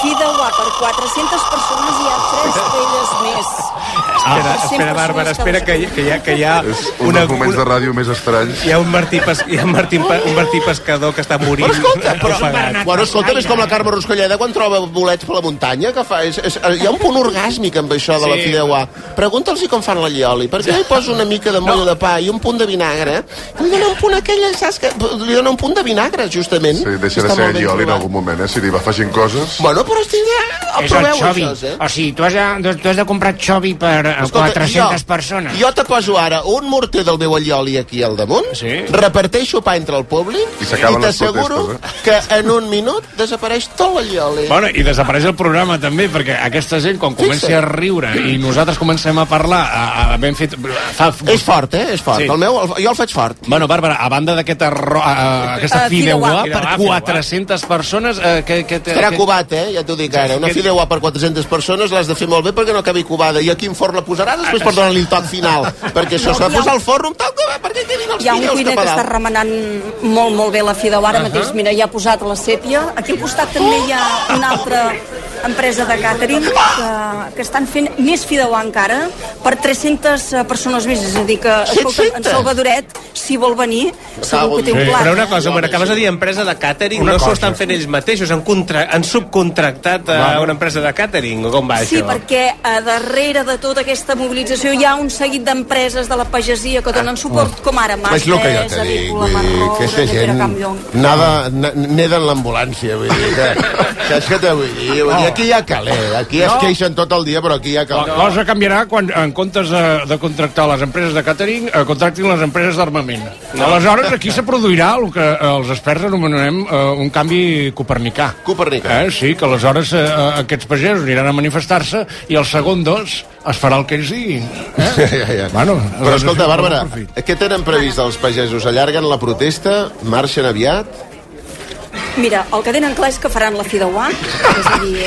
Speaker 23: Fideuà per 400 persones i hi ha tres paelles més.
Speaker 9: Ah, Espera,
Speaker 23: Per 100
Speaker 9: espera, Bàrbara,
Speaker 23: persones
Speaker 9: espera, que, hi- que, hi ha, que hi ha...
Speaker 12: Un dels moments de ràdio més estranys.
Speaker 9: Hi ha un Martí, Pes, hi ha un Martí, Pe- un Martí Pescador que està morint.
Speaker 5: Però escolta, però,
Speaker 9: ofegat.
Speaker 5: bueno, escolta, és com la Carme Ruscolleda quan troba bolets per la muntanya, que fa... És, és, hi ha un punt orgàsmic amb això de la
Speaker 11: Sí.
Speaker 5: fideuà. Pregunta'ls com fan la llioli, perquè jo hi poso una mica de moll de pa i un punt de vinagre, li dona un punt a aquella, saps que... Li dona un punt de vinagre, justament.
Speaker 12: Sí, deixa
Speaker 5: Està
Speaker 12: de ser
Speaker 5: molt ben
Speaker 12: Lioli en
Speaker 5: trobat.
Speaker 12: algun moment, eh? Si li va afegint coses...
Speaker 5: Bueno, però estic...
Speaker 10: És el xovi. O sigui, tu has, de, tu has de comprar xovi per eh,
Speaker 5: eh? Escolta,
Speaker 10: 400
Speaker 5: jo-
Speaker 10: persones.
Speaker 5: Jo te poso ara un morter del meu allioli aquí al damunt, sí. reparteixo pa entre el públic
Speaker 7: I
Speaker 5: i,
Speaker 7: s'acaben les
Speaker 5: t'asseguro
Speaker 12: eh?
Speaker 5: que en un minut desapareix tot l'allioli.
Speaker 7: Bueno, i desapareix el programa també, perquè aquesta gent, quan comenci
Speaker 5: Fixa't.
Speaker 7: a riure i nosaltres comencem a parlar, a, a ben fet... Fa...
Speaker 5: És fort, eh? És fort. El meu, el, jo el faig fort.
Speaker 7: Bueno, Bàrbara, a banda d'aquest arro... A, a, aquesta
Speaker 5: Eh,
Speaker 7: fideuà
Speaker 5: fideuà.
Speaker 7: per
Speaker 5: Fideuà, fideuà.
Speaker 7: 400 persones... Eh, que, que, que,
Speaker 5: Estarà cubat, eh? Ja t'ho dic ara. Una fideuà per 400 persones l'has de fer molt bé perquè no acabi cubada. I a quin forn la posaràs
Speaker 7: Ah,
Speaker 5: després per donar-li el toc
Speaker 7: (laughs)
Speaker 5: final. Perquè això
Speaker 23: No,
Speaker 5: s'ha
Speaker 23: hi ha
Speaker 5: de posar al forn un toc perquè quedin els
Speaker 23: Hi ha un
Speaker 5: fideus
Speaker 23: cuiner
Speaker 5: cap
Speaker 23: que
Speaker 5: a
Speaker 23: està
Speaker 5: dalt.
Speaker 23: remenant Mm, molt, molt bé la fideuà ara
Speaker 5: Ahà.
Speaker 23: mateix. Mira, ja ha posat la sèpia. Aquí al costat també hi ha una altra empresa de càtering que, que estan fent més fideuà encara per 300 persones més. És a dir, que eh, escolta, en
Speaker 9: 700?
Speaker 23: Salvadoret, si vol venir, segur que té
Speaker 9: Sí.
Speaker 23: un plat.
Speaker 9: Però una cosa, Mara, acabes de dir empresa de càtering,
Speaker 23: Una
Speaker 9: no s'ho
Speaker 23: cosa.
Speaker 9: estan fent ells mateixos, han, contra... han subcontractat a una empresa de càtering, o com va
Speaker 23: Sí,
Speaker 9: això?
Speaker 23: perquè a darrere de tota aquesta mobilització hi ha un seguit d'empreses de la pagesia que donen suport, com ara
Speaker 11: Ah, És lo que jo
Speaker 23: Mastes,
Speaker 11: te dic,
Speaker 23: Avícola,
Speaker 11: vull dir,
Speaker 23: Marró,
Speaker 11: aquesta
Speaker 23: Granera,
Speaker 11: gent
Speaker 23: Campllong...
Speaker 11: anava...
Speaker 5: Neda en l'ambulància, vull dir que... Saps què t'ho vull dir? Vull dir,
Speaker 11: aquí hi ha caler, aquí es queixen tot el dia, però aquí hi ha
Speaker 7: La
Speaker 11: caler.
Speaker 7: cosa canviarà quan, en comptes de, de contractar les empreses de catering, eh, contractin les empreses d'armament.
Speaker 11: No.
Speaker 7: Aleshores, aquí se produirà el que eh, els experts anomenem eh, un canvi copernicà.
Speaker 5: Copernicà.
Speaker 7: Eh, sí, que aleshores eh, eh, aquests pagesos aniran a manifestar-se i el segon dos es farà el que ells diguin. Eh?
Speaker 11: (laughs) Ja, ja, ja.
Speaker 7: Bueno, doncs
Speaker 11: però escolta,
Speaker 7: aleshores,
Speaker 11: Bàrbara,
Speaker 7: no aprofit.
Speaker 11: què tenen previst els pagesos? Allarguen la protesta? Marxen aviat?
Speaker 23: Mira, el que tenen clar és que faran la Fideuà, és a dir,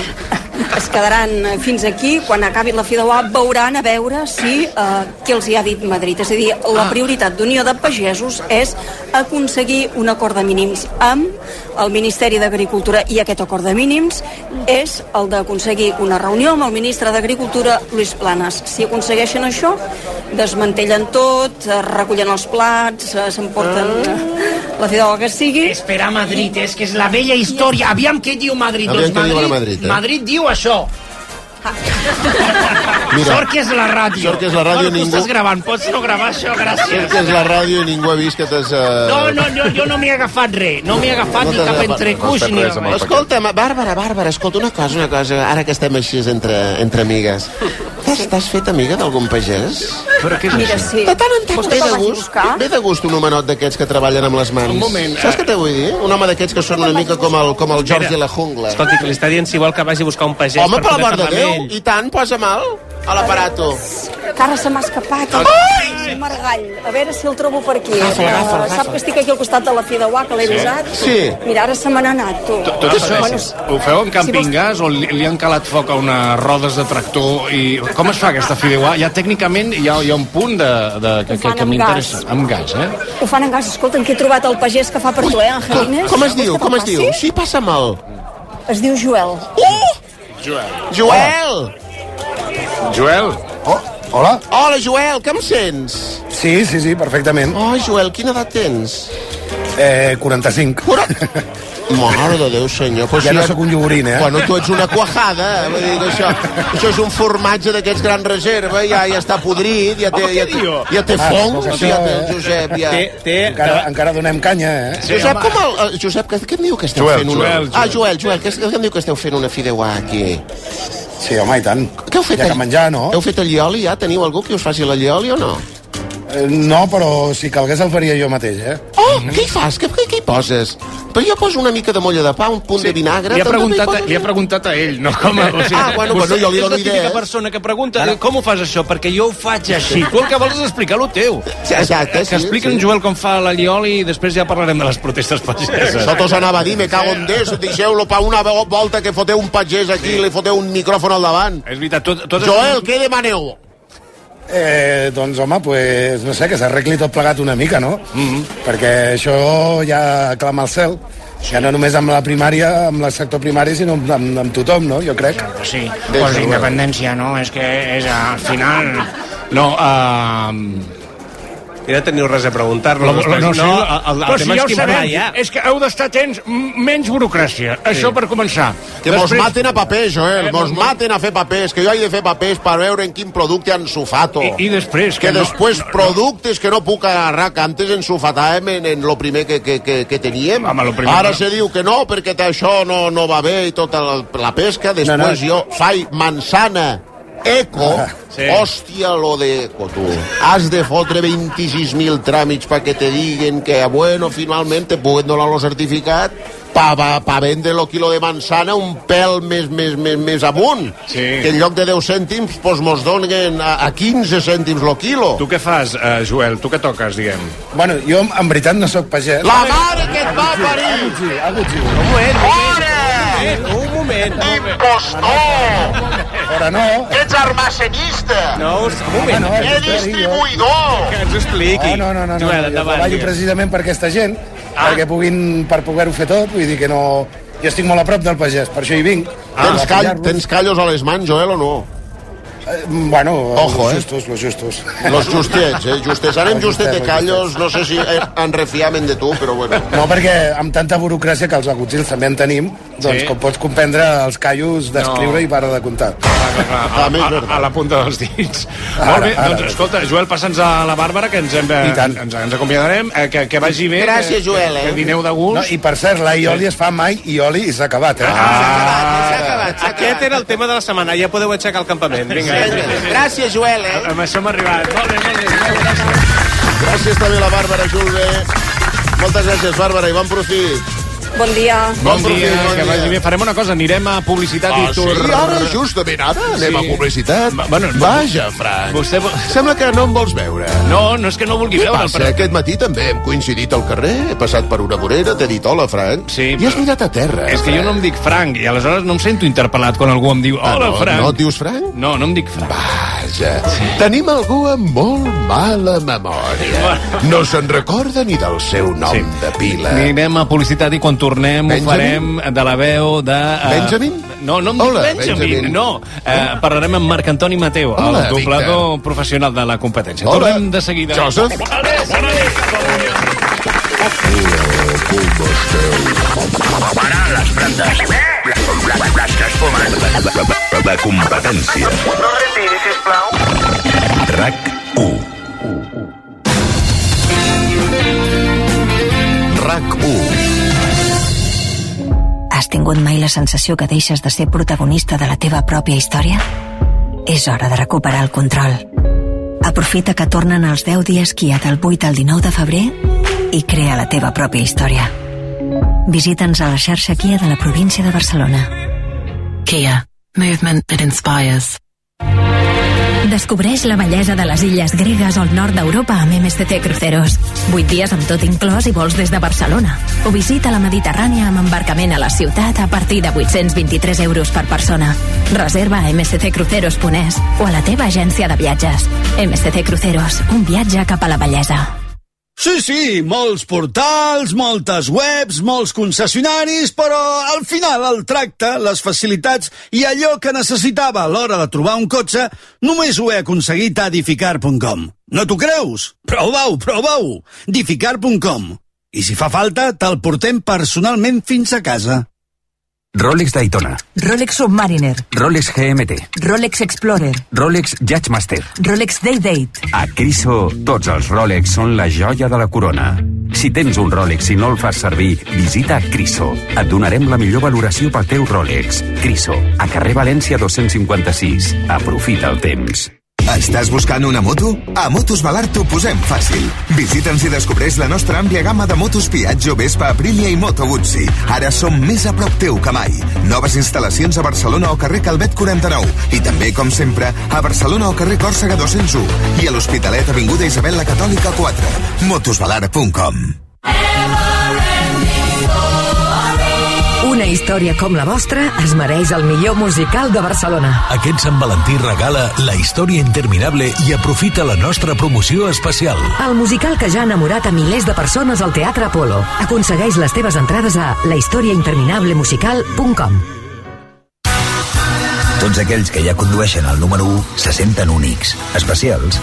Speaker 23: es quedaran eh, fins aquí, quan acabi la Fideuà veuran a veure si eh, què els hi ha dit Madrid. És a dir, la prioritat d'Unió de Pagesos és aconseguir un acord de mínims amb el Ministeri d'Agricultura i aquest acord de mínims és el d'aconseguir una reunió amb el ministre d'Agricultura, Luis Planas. Si aconsegueixen això, desmantellen tot, eh, recullen els plats, eh, s'emporten eh, la Fideuà que sigui...
Speaker 10: Esperar a Madrid, és que és la vella història. Aviam què diu Madrid. doncs,
Speaker 11: Aviam què diuen a Madrid, eh?
Speaker 10: Madrid diu això.
Speaker 23: Ah.
Speaker 10: (laughs)
Speaker 11: Mira.
Speaker 10: sort que és la ràdio.
Speaker 11: Sort que és la ràdio,
Speaker 10: Sort que ho
Speaker 11: ningú-
Speaker 10: estàs gravant, pots no gravar això, gràcies.
Speaker 11: Sort que és la ràdio i ningú ha vist que t'has... eh,
Speaker 10: No, no, jo, jo no m'he agafat res. No m'he agafat
Speaker 11: No
Speaker 10: ni
Speaker 11: t'has
Speaker 10: cap
Speaker 11: agafat,
Speaker 10: entrecuix
Speaker 11: no has fet
Speaker 10: ni
Speaker 11: res amb el
Speaker 10: res.
Speaker 5: Escolta, Bàrbara, Bàrbara, escolta, una cosa, una cosa, ara que estem així entre, entre amigues. T'has- T'has fet amiga d'algun pagès?
Speaker 7: Però
Speaker 5: què
Speaker 23: Mira, sí.
Speaker 5: De tant en tant
Speaker 23: Vols
Speaker 5: ve
Speaker 23: que te'l
Speaker 5: de
Speaker 23: vagi a
Speaker 5: gust,
Speaker 23: buscar?
Speaker 5: ve de gust un homenot d'aquests que treballen amb les mans.
Speaker 9: Un moment,
Speaker 5: Saps
Speaker 9: eh?
Speaker 5: què te vull dir? Un home d'aquests que són una mica com el, com el Jordi la jungla.
Speaker 9: Escolti, que li està dient si vol que vagi a buscar un pagès
Speaker 5: Home, per
Speaker 9: poder
Speaker 5: l'amor de
Speaker 9: parlar
Speaker 5: Déu,
Speaker 9: amb ell.
Speaker 5: i tant, posa mal a l'aparato.
Speaker 23: Cara, se m'ha escapat.
Speaker 5: Ai! Ah,
Speaker 23: Ai! Margall, a veure si el trobo per aquí.
Speaker 5: Agafa-la, agafa-la,
Speaker 23: Eh, Sap
Speaker 5: agafa-la.
Speaker 23: que estic aquí al costat de la Fideuà, que l'he
Speaker 7: Sí?
Speaker 23: avisat.
Speaker 7: Sí.
Speaker 23: Mira, ara se me n'ha anat, tu.
Speaker 7: Tot això
Speaker 23: Bueno,
Speaker 7: ho feu en camping gas o li, li han calat foc a unes rodes de tractor i com es fa aquesta fideuà? Ja tècnicament hi ha, hi ha un punt de, de, que, que,
Speaker 23: fan
Speaker 7: que
Speaker 23: amb
Speaker 7: m'interessa.
Speaker 23: gas.
Speaker 7: Amb gas, eh?
Speaker 23: ho fan en gas. Escolta'm, que he trobat el pagès que fa per tu, eh, Angelines?
Speaker 5: Com es diu? Com es diu?
Speaker 23: Passi?
Speaker 5: Sí, passa mal.
Speaker 23: Es diu Joel.
Speaker 11: Joel.
Speaker 5: Joel!
Speaker 11: Joel.
Speaker 5: Oh, hola. Hola, Joel, que em sents?
Speaker 1: Sí, sí, sí, perfectament.
Speaker 5: Oh, Joel, quina edat tens?
Speaker 1: Eh, 45.
Speaker 5: (laughs) Mare de Déu, senyor. Però
Speaker 1: ja
Speaker 5: si
Speaker 1: no sóc un lloborín, eh?
Speaker 5: Bueno, tu ets una cuajada, eh? vull dir que això, això és un formatge d'aquests gran reserva, ja, ja està podrit, ja té,
Speaker 1: Home,
Speaker 5: ja
Speaker 1: què
Speaker 5: té,
Speaker 1: diu?
Speaker 5: ja té
Speaker 1: Ah,
Speaker 5: fongs,
Speaker 1: doncs això,
Speaker 5: ja té,
Speaker 1: eh?
Speaker 5: Josep, ja...
Speaker 1: Té- té- Encara- de- encara donem canya, eh?
Speaker 5: Sí, Josep, com el, eh, Josep, què, què em diu que esteu
Speaker 1: Joel,
Speaker 5: fent una...
Speaker 1: Joel, Joel.
Speaker 5: Ah, Joel, Joel, què, què em diu que esteu fent una fideuà aquí?
Speaker 1: Sí, home, i tant.
Speaker 5: Què heu fet?
Speaker 1: Hi ha que menjar,
Speaker 5: no? Heu fet el llioli, ja? Teniu algú que us faci la llioli o no?
Speaker 1: Eh, No, però si calgués el faria jo mateix, eh?
Speaker 5: Oh, què hi fas? Què, què, què hi poses? Però jo poso una mica de molla de pa, un punt de vinagre...
Speaker 7: Li ha,
Speaker 5: també hi
Speaker 7: preguntat,
Speaker 5: poses?
Speaker 7: li ha preguntat a ell, no com a...
Speaker 5: Ah,
Speaker 7: (laughs)
Speaker 5: bueno, bueno, jo li dono
Speaker 7: És la típica
Speaker 5: idees.
Speaker 7: persona que pregunta Ara. com ho fas això, perquè jo ho faig així. Tu el que vols és explicar lo teu.
Speaker 5: Sí, exacte,
Speaker 7: Que
Speaker 5: sí,
Speaker 7: explica
Speaker 5: sí.
Speaker 7: en Joel com fa la Lioli i després ja parlarem de les protestes pageses.
Speaker 5: Nosaltres anava a dir, me cago en Déu, deixeu-lo pa una volta que foteu un pagès aquí i li foteu un micròfon al davant.
Speaker 7: És veritat, tot, tot
Speaker 5: Joel, què demaneu?
Speaker 1: Eh, doncs, home, pues, no sé, que s'arregli tot plegat una mica, no? Mm
Speaker 7: Mhm.
Speaker 1: -hmm. Perquè això ja clama al cel. Ja no només amb la primària, amb el sector primari, sinó amb, amb, amb tothom, no? Jo crec.
Speaker 10: Sí,
Speaker 1: Des
Speaker 10: pues
Speaker 1: de
Speaker 10: independència, no? És que és al final...
Speaker 7: No, uh...
Speaker 9: Ja teniu res a preguntar-lo.
Speaker 7: La- la-
Speaker 9: no,
Speaker 7: sí,
Speaker 9: no,
Speaker 7: la-
Speaker 9: el, el,
Speaker 7: però
Speaker 9: el tema
Speaker 7: si ja
Speaker 9: és
Speaker 7: ho
Speaker 9: qui
Speaker 7: sabem,
Speaker 9: va allà.
Speaker 7: és que heu d'estar atents, m- menys burocràcia. Això per començar.
Speaker 5: Que mos maten a paper, Joel,
Speaker 7: Eh,
Speaker 5: mos maten a fer papers, que jo he de fer papers per veure en quin producte ensufato.
Speaker 7: I- i després,
Speaker 5: Que,
Speaker 7: que no-
Speaker 5: després productes que no puc agarrar, que antes ensufatàvem en, en lo primer que, que, que, que teníem.
Speaker 7: Home, lo primer
Speaker 5: Ara
Speaker 7: que-
Speaker 5: se diu que no, perquè això no, no va bé i tota la, la pesca. Després
Speaker 1: No,
Speaker 5: jo faig manzana eco.
Speaker 1: Ah,
Speaker 5: sí. Hòstia, lo de eco, tu. Has de fotre 26.000 tràmits perquè te diguen que, bueno, finalment te puguen donar lo certificat pa, pa, pa vendre lo quilo de manzana un pèl més, més, més, més amunt. Sí. Que en lloc de 10 cèntims, pues mos donen a, a 15 cèntims lo quilo.
Speaker 7: Tu què fas, eh, Joel? Tu què toques, diguem?
Speaker 1: Bueno, jo, en veritat, no sóc pagès.
Speaker 5: La mare que et va parir!
Speaker 1: Un
Speaker 9: moment, Eh,
Speaker 1: un moment.
Speaker 8: Impostor!
Speaker 1: Ara no.
Speaker 8: Ets armacenista!
Speaker 9: No, un moment.
Speaker 1: Home, no,
Speaker 8: Ets
Speaker 1: esperi, eh?
Speaker 8: distribuïdor!
Speaker 9: Que ens ho expliqui.
Speaker 1: Ah, No, no, no, no, no,
Speaker 9: Joel,
Speaker 1: no, jo
Speaker 9: endavant,
Speaker 1: treballo
Speaker 9: digues.
Speaker 1: precisament per aquesta gent, ah. perquè puguin, per poder-ho fer tot, vull dir que no... Jo estic molt a prop del pagès, per això hi vinc.
Speaker 5: Ah, tens,
Speaker 1: A
Speaker 5: call,
Speaker 1: pillar-los.
Speaker 5: tens callos a les mans, Joel, o no?
Speaker 1: Eh, Bueno,
Speaker 5: Ojo,
Speaker 1: los
Speaker 5: eh?
Speaker 1: justos, los justos.
Speaker 5: Los justets, eh? Justets. Anem
Speaker 1: Los
Speaker 5: justet de
Speaker 1: los
Speaker 5: callos, no sé si eh, en refiamen de tu, però bueno.
Speaker 1: No, perquè amb tanta burocràcia que els agutzils també en tenim, Doncs
Speaker 24: Sí.
Speaker 1: com pots comprendre, els callos d'escriure i para de comptar.
Speaker 24: A, a, a, a la punta dels dits.
Speaker 1: Ara,
Speaker 7: Molt bé,
Speaker 1: ara.
Speaker 7: doncs escolta, Joel, passa'ns a la Bàrbara, que ens, hem de,
Speaker 1: I tant.
Speaker 7: ens, ens acomiadarem, eh, que, que vagi bé. que, Que, que dineu de gust.
Speaker 1: No, I per cert, l'aioli es fa mai ioli i s'ha acabat, eh?
Speaker 9: Ah, Aquest era el tema de la setmana, ja podeu aixecar el campament. Vinga.
Speaker 25: Gràcies, Joel, eh?
Speaker 7: Amb això m'ha arribat. Molt bé, molt bé.
Speaker 25: Gràcies també a la Bàrbara Julve. Moltes gràcies, Bàrbara, i bon profit.
Speaker 23: Bon dia.
Speaker 7: Bon, dia, que vagi bé. Farem una cosa, anirem a publicitat
Speaker 5: Ah,
Speaker 7: i
Speaker 5: sí?
Speaker 7: tur...
Speaker 5: Ara, justament ara, anem a publicitat?
Speaker 7: Bueno,
Speaker 5: Vaja, Fran.
Speaker 7: Vostè... vo-
Speaker 5: Sembla que no em vols veure.
Speaker 7: No, no és que no vulgui
Speaker 5: Què
Speaker 7: veure'l,
Speaker 5: passa?
Speaker 7: però-
Speaker 5: Aquest matí també hem coincidit al carrer, he passat per una vorera, t'he dit hola, Fran. Sí, I has mirat a terra.
Speaker 7: És que jo no em dic Frank, i aleshores no em sento interpel·lat quan algú em diu
Speaker 5: Ah,
Speaker 7: hola,
Speaker 5: no?
Speaker 7: Frank.
Speaker 5: No et dius Frank?
Speaker 7: No, no em dic Frank.
Speaker 5: Vaja, tenim algú amb molt mala memòria. No se'n recorda ni del seu nom sí. de
Speaker 1: Eh.
Speaker 5: pila.
Speaker 7: Anirem a publicitat i quan tornem
Speaker 5: Benjamin?
Speaker 7: ho farem de la veu de... eh,
Speaker 5: Benjamin?
Speaker 7: No, no em dic
Speaker 5: Hola,
Speaker 7: Benjamin,
Speaker 5: Benjamin.
Speaker 7: no. Eh, parlarem amb Marc Antoni Mateu,
Speaker 5: Hola,
Speaker 7: el doblador professional de la competència.
Speaker 5: Hola,
Speaker 7: Tornem de seguida.
Speaker 5: Josep.
Speaker 6: Parar les brandes. Les que es fumen. La, competència.
Speaker 11: No retiri, sisplau.
Speaker 6: RAC 1.
Speaker 5: RAC
Speaker 6: 1.
Speaker 2: Has tingut mai la sensació que deixes de ser protagonista de la teva pròpia història? És hora de recuperar el control. Aprofita que tornen els 10 dies Kia del 8 al 19 de febrer i crea la teva pròpia història. Visita'ns a la xarxa Kia de la província de Barcelona.
Speaker 26: Kia. Movement that inspires.
Speaker 16: Descobreix la bellesa de les illes gregues al nord d'Europa amb MSC Cruceros. 8 dies amb tot inclòs i vols des de Barcelona. O visita la Mediterrània amb embarcament a la ciutat a partir de 823 euros per persona. Reserva a msccruceros.es o a la teva agència de viatges. MSC Cruceros, un viatge cap a la bellesa.
Speaker 27: Sí, sí, molts portals, moltes webs, molts concessionaris, però al final el tracte, les facilitats i allò que necessitava a l'hora de trobar un cotxe només ho he aconseguit a edificar.com. No t'ho creus? Prova-ho, prova-ho! edificar.com. I si fa falta, te'l portem personalment fins a casa.
Speaker 28: Rolex Daytona,
Speaker 27: Rolex Submariner.
Speaker 28: Rolex GMT,
Speaker 27: Rolex Explorer.
Speaker 28: Rolex Judgemaster.
Speaker 27: Rolex Day Date.
Speaker 28: A Criso, tots els Rolex són la joia de la corona. Si tens un Rolex i no el fas servir, visita Criso. Et donarem la millor valoració pel teu Rolex. Criso, a carrer València 256. Aprofita el temps.
Speaker 4: Estàs buscant una moto? A Motos Valar t'ho posem fàcil. Visita'ns i descobreix la nostra àmplia gamma de motos Piaggio, Vespa, Aprilia i Moto Guzzi. Ara som més a prop teu que mai. Noves instal·lacions a Barcelona o carrer Calvet 49 i també, com sempre, a Barcelona o carrer Còrsega 201 i a l'Hospitalet Avinguda Isabel la Catòlica 4. motosvalar.com
Speaker 29: Una història com la vostra es mereix el millor musical de Barcelona.
Speaker 30: Aquest Sant Valentí regala la història interminable i aprofita la nostra promoció especial.
Speaker 29: El musical que ja ha enamorat a milers de persones al Teatre Apolo. Aconsegueix les teves entrades a lahistoriainterminablemusical.com
Speaker 31: Tots aquells que ja condueixen el número 1 se senten únics, especials.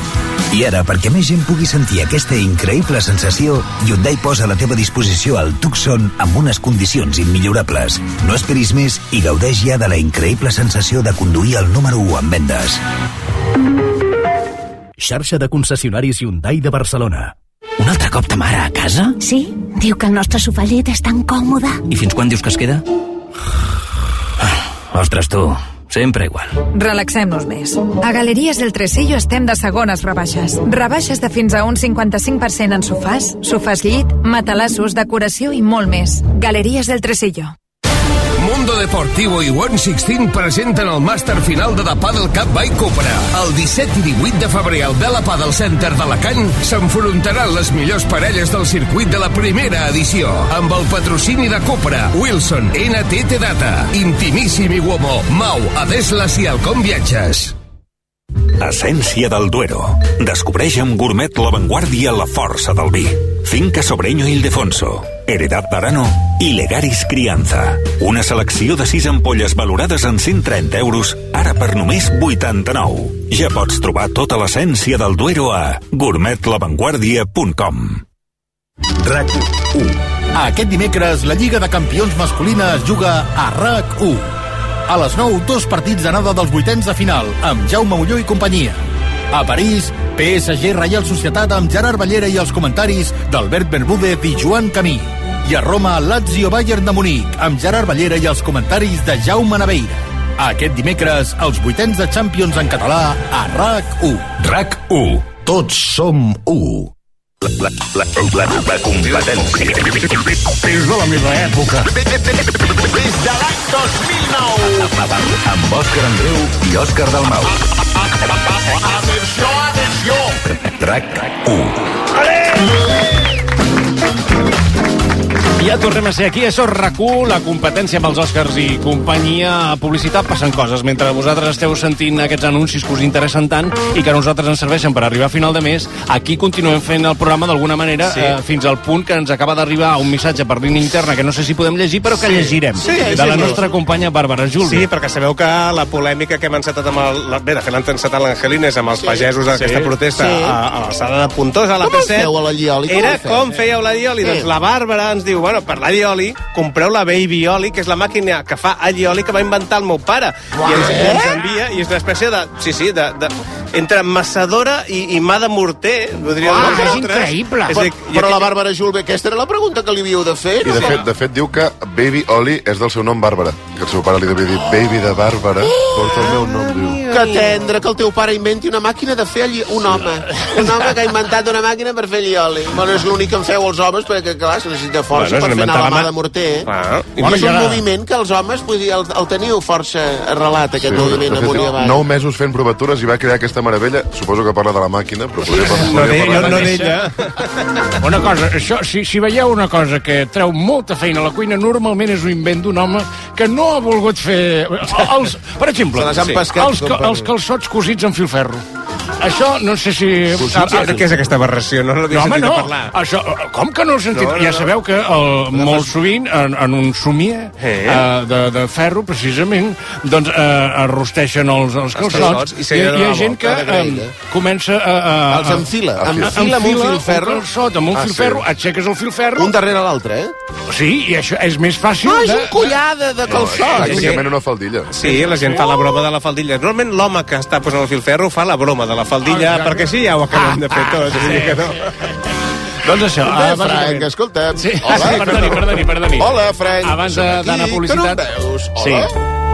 Speaker 31: I ara, perquè més gent pugui sentir aquesta increïble sensació, Hyundai posa a la teva disposició el Tucson amb unes condicions immillorables. No esperis més i gaudeix ja de la increïble sensació de conduir el número 1 en vendes.
Speaker 32: Xarxa de concessionaris Hyundai de Barcelona.
Speaker 18: Un altre cop ta mare a casa?
Speaker 33: Sí, diu que el nostre sofallet és tan còmode.
Speaker 18: I fins quan dius que es queda? Ah, Ostres, tu, sempre igual.
Speaker 34: Relaxem-nos més. A Galeries del Tresillo estem de segones rebaixes. Rebaixes de fins a un 55% en sofàs, sofàs llit, matalassos, decoració i molt més. Galeries del Tresillo.
Speaker 35: Mundo Deportivo i 116 presenten el màster final de The Paddle Cup by Cupra. El 17 i 18 de febrer al Bela Paddle Center d'Alacant s'enfrontaran les millors parelles del circuit de la primera edició amb el patrocini de Cupra, Wilson, NTT Data, Intimíssim i Uomo, Mau, Adeslas i Alcom Viatges.
Speaker 36: Essència del Duero. Descobreix amb Gourmet La Vanguardia la força del vi. Finca Sobreño Ildefonso, Heredad Barano i Legaris Crianza. Una selecció de 6 ampolles valorades en 130 euros, ara per només 89. Ja pots trobar tota l'essència del Duero a gourmetlavanguardia.com.
Speaker 30: RAC 1.
Speaker 4: Aquest dimecres, la Lliga de Campions Masculina es juga a RAC1. A les 9, dos partits d'anada dels vuitens de final, amb Jaume Ulló i companyia. A París, PSG Reial Societat amb Gerard Ballera i els comentaris d'Albert Bermúdez i Joan Camí. I a Roma, Lazio Bayern de Munic, amb Gerard Ballera i els comentaris de Jaume Naveira. Aquest dimecres, els vuitens de Champions en català a RAC1. RAC1. Tots som u.
Speaker 37: La, la, la, la, la competència. És de la meva època.
Speaker 38: Des de l'any 2009.
Speaker 37: Amb Òscar Andreu i Òscar Dalmau.
Speaker 38: Atenció, atenció.
Speaker 37: RAC 1.
Speaker 7: Ja tornem a ser aquí, això és rac la competència amb els Oscars i companyia a publicitat passen coses. Mentre vosaltres esteu sentint aquests anuncis que us interessen tant i que a nosaltres ens serveixen per arribar a final de mes, aquí continuem fent el programa d'alguna manera
Speaker 9: Sí.
Speaker 7: sí. eh, fins al punt que ens acaba d'arribar un missatge per línia interna que no sé si podem llegir, però que
Speaker 9: Sí.
Speaker 7: llegirem.
Speaker 9: Sí,
Speaker 7: de la
Speaker 9: llegim-lo.
Speaker 7: nostra companya Bàrbara Jul.
Speaker 9: Sí, perquè sabeu que la polèmica que hem encetat amb el... la- Bé, de fet l'han encetat l'Angelines amb els
Speaker 7: Sí.
Speaker 9: pagesos d'aquesta
Speaker 7: Sí.
Speaker 9: protesta
Speaker 7: Sí.
Speaker 9: a, a l'alçada de Pontosa, a la
Speaker 7: Com el
Speaker 9: P7.
Speaker 7: feu, a la Lioli? Com
Speaker 9: Era
Speaker 7: el feu?
Speaker 9: Eh, com fèieu la Lioli.
Speaker 7: Eh.
Speaker 9: Doncs la Bàrbara ens diu, bueno, per la Lioli, compreu la Baby Oli, que és la màquina que fa allioli que va inventar el meu pare. I ens, i ens envia, i és una espècie de... Sí, sí, de... de entre massadora i, i mà de morter, podríem
Speaker 5: Ah,
Speaker 9: dir
Speaker 5: és
Speaker 9: nosaltres.
Speaker 5: increïble.
Speaker 9: És a dir,
Speaker 5: Però-
Speaker 9: i
Speaker 5: però la
Speaker 9: aquí-
Speaker 5: Bàrbara Julve, aquesta era la pregunta que li havíeu de fer,
Speaker 3: I
Speaker 5: no?
Speaker 3: de fet, de fet diu que Baby Oli és del seu nom Bàrbara. Que el seu pare li devia dir Baby de Bàrbara, porta el meu nom, diu.
Speaker 5: Que tendre que el teu pare inventi una màquina de fer alli... un home. Un home que ha inventat una màquina per fer allioli. Bueno, és l'únic que en feu els homes, perquè, clar, se necessita
Speaker 9: Bueno,
Speaker 5: força
Speaker 9: és
Speaker 5: bueno, per fer anar
Speaker 9: inventar
Speaker 5: la
Speaker 9: la
Speaker 5: mà
Speaker 9: mà-
Speaker 5: de morter.
Speaker 9: Ah,
Speaker 5: Bueno, és un
Speaker 3: ja-
Speaker 5: moviment que els homes, vull dir, el, el teniu força arrelat, aquest sí,
Speaker 3: de
Speaker 5: moviment amunt i
Speaker 3: fet,
Speaker 5: avall.
Speaker 3: nou mesos fent provatures i va crear aquesta meravella. Suposo que parla de la màquina, però podria parlar...
Speaker 6: No
Speaker 3: podria
Speaker 6: d'ell,
Speaker 3: parlar
Speaker 6: no- no
Speaker 3: de-
Speaker 6: d'ella. Una cosa, això, si, si veieu una cosa que treu molta feina a la cuina, normalment és un invent d'un home que no ha volgut fer... Els, per exemple,
Speaker 5: Se les han pescat,
Speaker 6: els,
Speaker 5: com
Speaker 6: ca,
Speaker 5: per-
Speaker 6: els calçots cosits amb filferro. Això no sé si... Ah,
Speaker 9: Ah, ah, Què és aquesta aberració? No l'havia
Speaker 6: No, home,
Speaker 9: sentit
Speaker 6: no.
Speaker 9: a parlar.
Speaker 6: Això, eh, com que no ho he sentit?
Speaker 9: No, no,
Speaker 6: ja
Speaker 9: no.
Speaker 6: sabeu que el, molt sovint, en, en un somier eh. eh, de, de ferro, precisament, doncs eh, arrosteixen els, els calçots.
Speaker 9: calçots i se li
Speaker 6: hi, ha-
Speaker 9: dona
Speaker 6: hi
Speaker 9: la
Speaker 6: ha gent
Speaker 9: volta
Speaker 6: que
Speaker 9: de graella.
Speaker 6: eh, comença a... a
Speaker 5: Els enfila,
Speaker 10: Ah,
Speaker 6: a-
Speaker 5: enfila
Speaker 6: a-
Speaker 5: amb un filferro.
Speaker 6: Un calçot, amb un
Speaker 5: Ah,
Speaker 6: ah,
Speaker 5: sí.
Speaker 6: filferro, sí. aixeques el filferro...
Speaker 5: Un darrere l'altre, eh?
Speaker 6: Sí, i això és més fàcil...
Speaker 10: Ah,
Speaker 5: No, és
Speaker 6: de-
Speaker 5: un collada de
Speaker 3: Ah,
Speaker 5: calçots.
Speaker 3: Pràcticament una faldilla.
Speaker 9: Sí, la gent fa la broma de la faldilla. Normalment l'home que està posant el filferro fa la broma de la faldilla,
Speaker 3: Ah, ja.
Speaker 9: perquè sí, ja ho acabem de fer tot. Ah, sí. que no.
Speaker 6: Doncs això,
Speaker 3: ah,
Speaker 5: Frank,
Speaker 3: bàsicament.
Speaker 5: escolta'm.
Speaker 3: Sí.
Speaker 5: Hola,
Speaker 6: perdoni, perdoni, perdoni.
Speaker 5: Hola, Frank.
Speaker 6: Abans
Speaker 5: Som
Speaker 6: de-
Speaker 5: aquí,
Speaker 6: d'anar a publicitat.
Speaker 5: Que no em veus?
Speaker 6: Sí.
Speaker 5: Hola.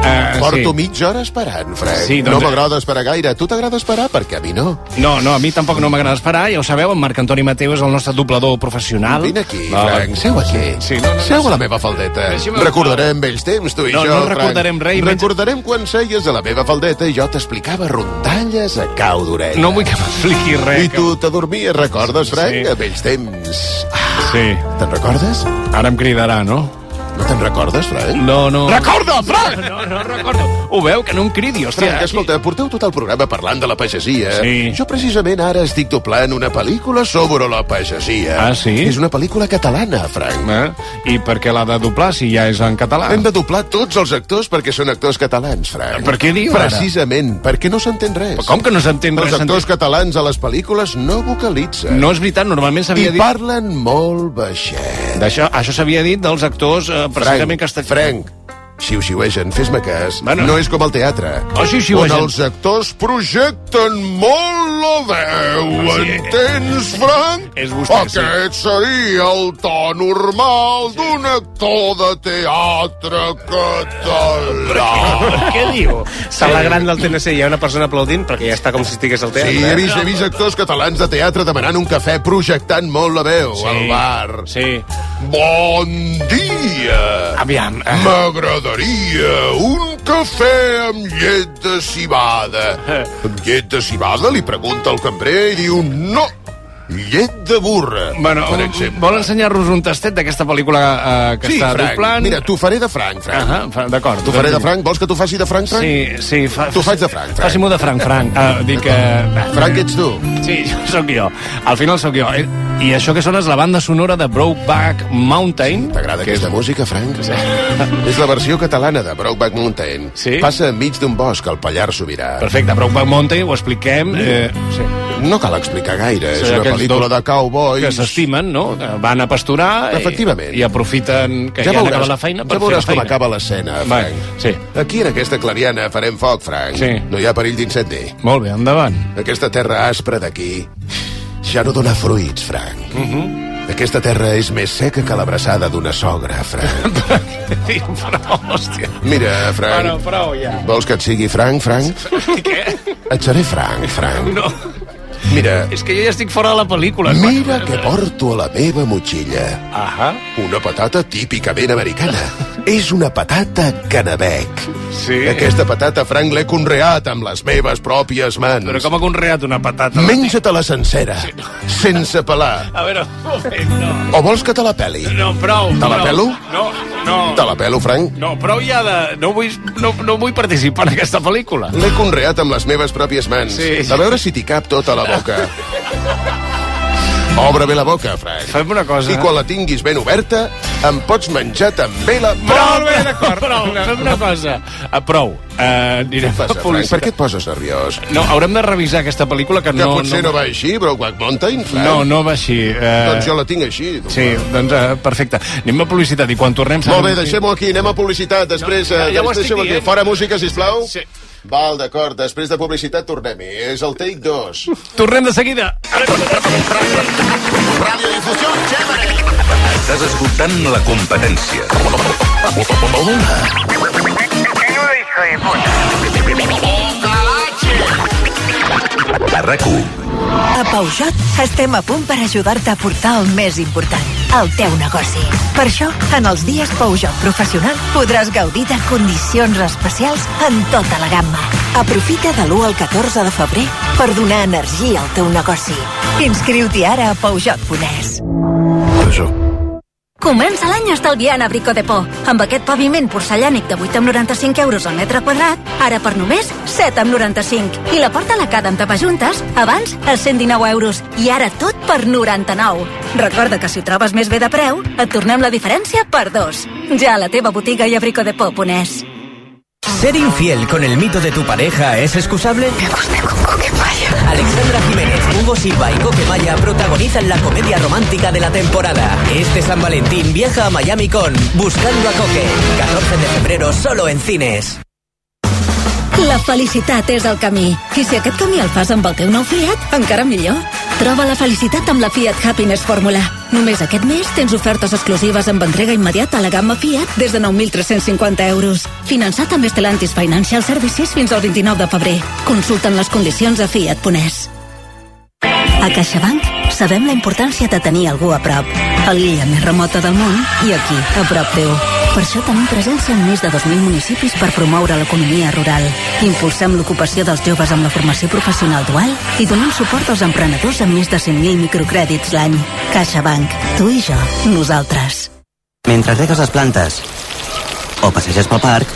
Speaker 7: Ah,
Speaker 6: Eh,
Speaker 5: Porto
Speaker 6: sí.
Speaker 5: mitja hora esperant, Frank.
Speaker 6: Sí,
Speaker 5: No
Speaker 7: eh-
Speaker 6: doncs-
Speaker 5: m'agrada esperar gaire. A tu t'agrada esperar? Perquè a mi no.
Speaker 7: No, no, a mi tampoc no m'agrada esperar, ja ho sabeu, en Marc Antoni Mateu és el nostre doblador professional.
Speaker 5: Vine aquí, Frank, seu aquí.
Speaker 7: Sí, no, no, no.
Speaker 5: Seu a la meva faldeta.
Speaker 7: Deixi'm-
Speaker 5: Recordarem vells temps, tu i
Speaker 7: No,
Speaker 5: jo,
Speaker 7: no
Speaker 5: Frank.
Speaker 7: recordarem res, i menys-
Speaker 5: Recordarem quan seies a la meva faldeta i jo t'explicava rondalles a cau d'orella.
Speaker 7: No vull que m'expliqui res.
Speaker 5: I tu t'adormies, recordes, Frank? A vells temps. Ah,
Speaker 7: Sí.
Speaker 5: Te'n recordes?
Speaker 7: Ara em cridarà, no?
Speaker 5: No te'n recordes, Frank?
Speaker 7: No, no.
Speaker 5: Recorda, Frank!
Speaker 6: No, no recordo.
Speaker 7: Ho veu, que no em cridi,
Speaker 5: hòstia. Frank, escolta, porteu tot el programa parlant de la pagesia. Sí. Jo precisament ara estic doblant una pel·lícula sobre la pagesia.
Speaker 7: Ah, sí?
Speaker 5: És una pel·lícula catalana, Frank.
Speaker 7: Eh? I per què l'ha de doblar si ja és en català?
Speaker 5: Hem de doblar tots els actors perquè són actors catalans, Frank.
Speaker 7: Per què diu ara?
Speaker 5: Precisament, perquè no s'entén res.
Speaker 7: Però com que no s'entén res?
Speaker 5: Els actors catalans a les pel·lícules no vocalitzen.
Speaker 7: No és veritat, normalment
Speaker 5: I
Speaker 7: s'havia dit...
Speaker 5: parlen molt baixet.
Speaker 7: D'això, això s'havia dit dels actors eh, precisament
Speaker 5: Frank,
Speaker 7: castellans.
Speaker 5: Frank, xiu-xiuegen, fes-me cas.
Speaker 7: Bueno.
Speaker 5: No és com el teatre.
Speaker 7: Oh, xiu-xiuegen.
Speaker 5: On els actors projecten molt la veu,
Speaker 7: Ah,
Speaker 3: Sí.
Speaker 5: entens, Frank?
Speaker 3: És vostè, sí.
Speaker 5: Aquest seria el to normal d'un actor de teatre català.
Speaker 9: Què diu? Celebrant del TNC hi ha una persona aplaudint perquè ja està com si estigués al teatre. eh?
Speaker 5: Sí, he vist, he vist actors catalans de teatre demanant un cafè projectant molt la veu
Speaker 9: Sí.
Speaker 5: al bar.
Speaker 7: Sí.
Speaker 5: Bon dia!
Speaker 6: Aviam.
Speaker 5: Eh. M'agradaria un cafè amb llet de cibada. Amb llet de cibada? Li pregunta el cambrer i diu no. Llet de burra,
Speaker 7: Bueno,
Speaker 5: per exemple.
Speaker 7: vol ensenyar-nos un tastet d'aquesta pel·lícula eh, que
Speaker 5: sí,
Speaker 7: està
Speaker 5: Frank.
Speaker 7: doblant?
Speaker 5: Mira, t'ho faré de franc, Frank.
Speaker 7: Ah, fra- d'acord.
Speaker 5: T'ho faré de franc? Vols que t'ho faci de franc, Frank?
Speaker 7: Sí, sí. Fa...
Speaker 5: T'ho faig de franc, Frank.
Speaker 7: Faci-m'ho de franc, franc. Uh, dic que...
Speaker 5: Frank, ets tu?
Speaker 7: Sí, jo sóc jo. Al final sóc jo. Eh, I això que sona és la banda sonora de Brokeback Mountain.
Speaker 5: T'agrada aquesta música, Frank? Sí. (laughs) És la versió catalana de Brokeback Mountain. Sí? Passa enmig d'un bosc al Pallar Sobirà.
Speaker 7: Perfecte, Brokeback Mountain, ho expliquem. Eh, sí.
Speaker 5: No cal explicar gaire,
Speaker 7: Sí,
Speaker 5: és una
Speaker 7: aquells
Speaker 5: pel·lícula
Speaker 7: dos
Speaker 5: de cowboys...
Speaker 7: que s'estimen, no? Eh, Van a pasturar i-
Speaker 5: Efectivament.
Speaker 7: i aprofiten que ja, han acabat la feina per
Speaker 5: ja veuràs
Speaker 7: fer
Speaker 5: com
Speaker 7: la feina.
Speaker 5: acaba l'escena,
Speaker 7: Va,
Speaker 5: Frank.
Speaker 7: sí.
Speaker 5: Aquí, en aquesta clariana, farem foc, Frank.
Speaker 7: Sí.
Speaker 5: No hi ha perill d'incendi.
Speaker 7: Molt bé, endavant.
Speaker 5: (laughs) Aquesta terra aspra d'aquí ja no dona fruits, Frank. Mm -hmm. Aquesta terra és més seca que l'abraçada d'una sogra, Frank.
Speaker 7: però, hòstia.
Speaker 5: Mira, Frank,
Speaker 7: Bueno, prou, ja.
Speaker 5: vols que et sigui franc, Frank?
Speaker 7: Què?
Speaker 5: Et seré franc, Frank.
Speaker 7: No.
Speaker 5: Mira,
Speaker 7: És que jo ja estic fora de la pel·lícula.
Speaker 5: Mira què porto a la meva motxilla. Ahà. Una patata típicament americana. És una patata canabec. Sí. Aquesta patata, Frank, l'he conreat amb les meves pròpies mans. Però
Speaker 7: com ha conreat una patata?
Speaker 5: Menja-te-la sencera, sí, no. sense pelar.
Speaker 7: A veure, un moment, no.
Speaker 5: O vols que te la peli?
Speaker 7: No, prou.
Speaker 5: Te la
Speaker 7: prou.
Speaker 5: pelo?
Speaker 7: No, no.
Speaker 5: Te la pelo, Frank?
Speaker 7: No, prou ja de... No vull, no, no vull participar en aquesta pel·lícula.
Speaker 5: L'he conreat amb les meves pròpies mans.
Speaker 7: Sí, sí.
Speaker 5: A veure si t'hi cap tota la boca. Obre bé la boca, Frank.
Speaker 7: Fem una cosa.
Speaker 5: I quan la tinguis ben oberta, em pots menjar també la...
Speaker 7: Prou,
Speaker 5: eh?
Speaker 7: bé, d'acord. Prou, fem una cosa. Uh, prou. Uh, anirem
Speaker 5: Què
Speaker 7: a
Speaker 5: passa, Frank? Per
Speaker 7: publicitat.
Speaker 5: què et poses nerviós?
Speaker 7: No, haurem de revisar aquesta pel·lícula que,
Speaker 5: Que
Speaker 7: no...
Speaker 5: potser no eh? va així, però Black Mountain, Frank.
Speaker 7: No, no va així. Uh...
Speaker 5: Doncs jo la tinc així. tu.
Speaker 7: Sí, doncs uh, perfecte. Anem a publicitat i quan tornem...
Speaker 5: Molt bé, deixem-ho aquí, anem a publicitat. Després, eh,
Speaker 7: No, ja- ja ho
Speaker 5: després
Speaker 7: estic
Speaker 5: deixem-ho aquí.
Speaker 7: dient.
Speaker 5: Fora música, sisplau.
Speaker 7: Sí.
Speaker 5: Val, d'acord, després de publicitat tornem-hi. És el take 2.
Speaker 7: Tornem de seguida.
Speaker 39: Radiodifusión chévere.
Speaker 6: Estàs escoltant la competència. A RAC1.
Speaker 40: A Peugeot estem a punt per ajudar-te a portar el més important, el teu negoci. Per això, en els dies Peugeot Professional podràs gaudir de condicions especials en tota la gamma.
Speaker 16: Aprofita de l'1 al 14 de febrer per donar energia al teu negoci.
Speaker 40: Inscriu-t'hi ara a Peugeot Pones.
Speaker 2: Comença l'any estalviant a Brico de Po. Amb aquest paviment porcellànic de 8 amb 95 euros al metre quadrat, ara per només 7 amb 95. I la porta a la cada amb tapajuntes, abans a 119 euros. I ara tot per 99. Recorda que si ho trobes més bé de preu, et tornem la diferència per dos. Ja a la teva botiga i a Brico de Po, ponés.
Speaker 18: ¿Ser infiel con el mito de tu pareja es excusable? Me gusta con Coquemaya. Alexandra Jiménez, Hugo Silva y Coquemaya protagonizan la comedia romántica de la temporada. Este San Valentín viaja a Miami con Buscando a Coque. 14 de febrero solo en cines.
Speaker 2: La felicitat és el camí. I si aquest camí el fas amb el teu nou Fiat, encara millor. Troba la felicitat amb la Fiat Happiness Fórmula. Només aquest mes tens ofertes exclusives amb entrega immediata a la gamma Fiat des de 9.350 euros. Finançat amb Estelantis Financial Services fins al 29 de febrer. Consulta'n les condicions a Fiat Pones.
Speaker 16: A CaixaBank sabem la importància de tenir algú a prop. A l'illa més remota del món i aquí, a prop teu. Per això tenim presència en més de 2.000 municipis per promoure l'economia rural. Impulsem l'ocupació dels joves amb la formació professional dual i donem suport als emprenedors amb més de 100.000 microcrèdits l'any. CaixaBank. Tu i jo. Nosaltres.
Speaker 18: Mentre regues les plantes o passeges pel parc,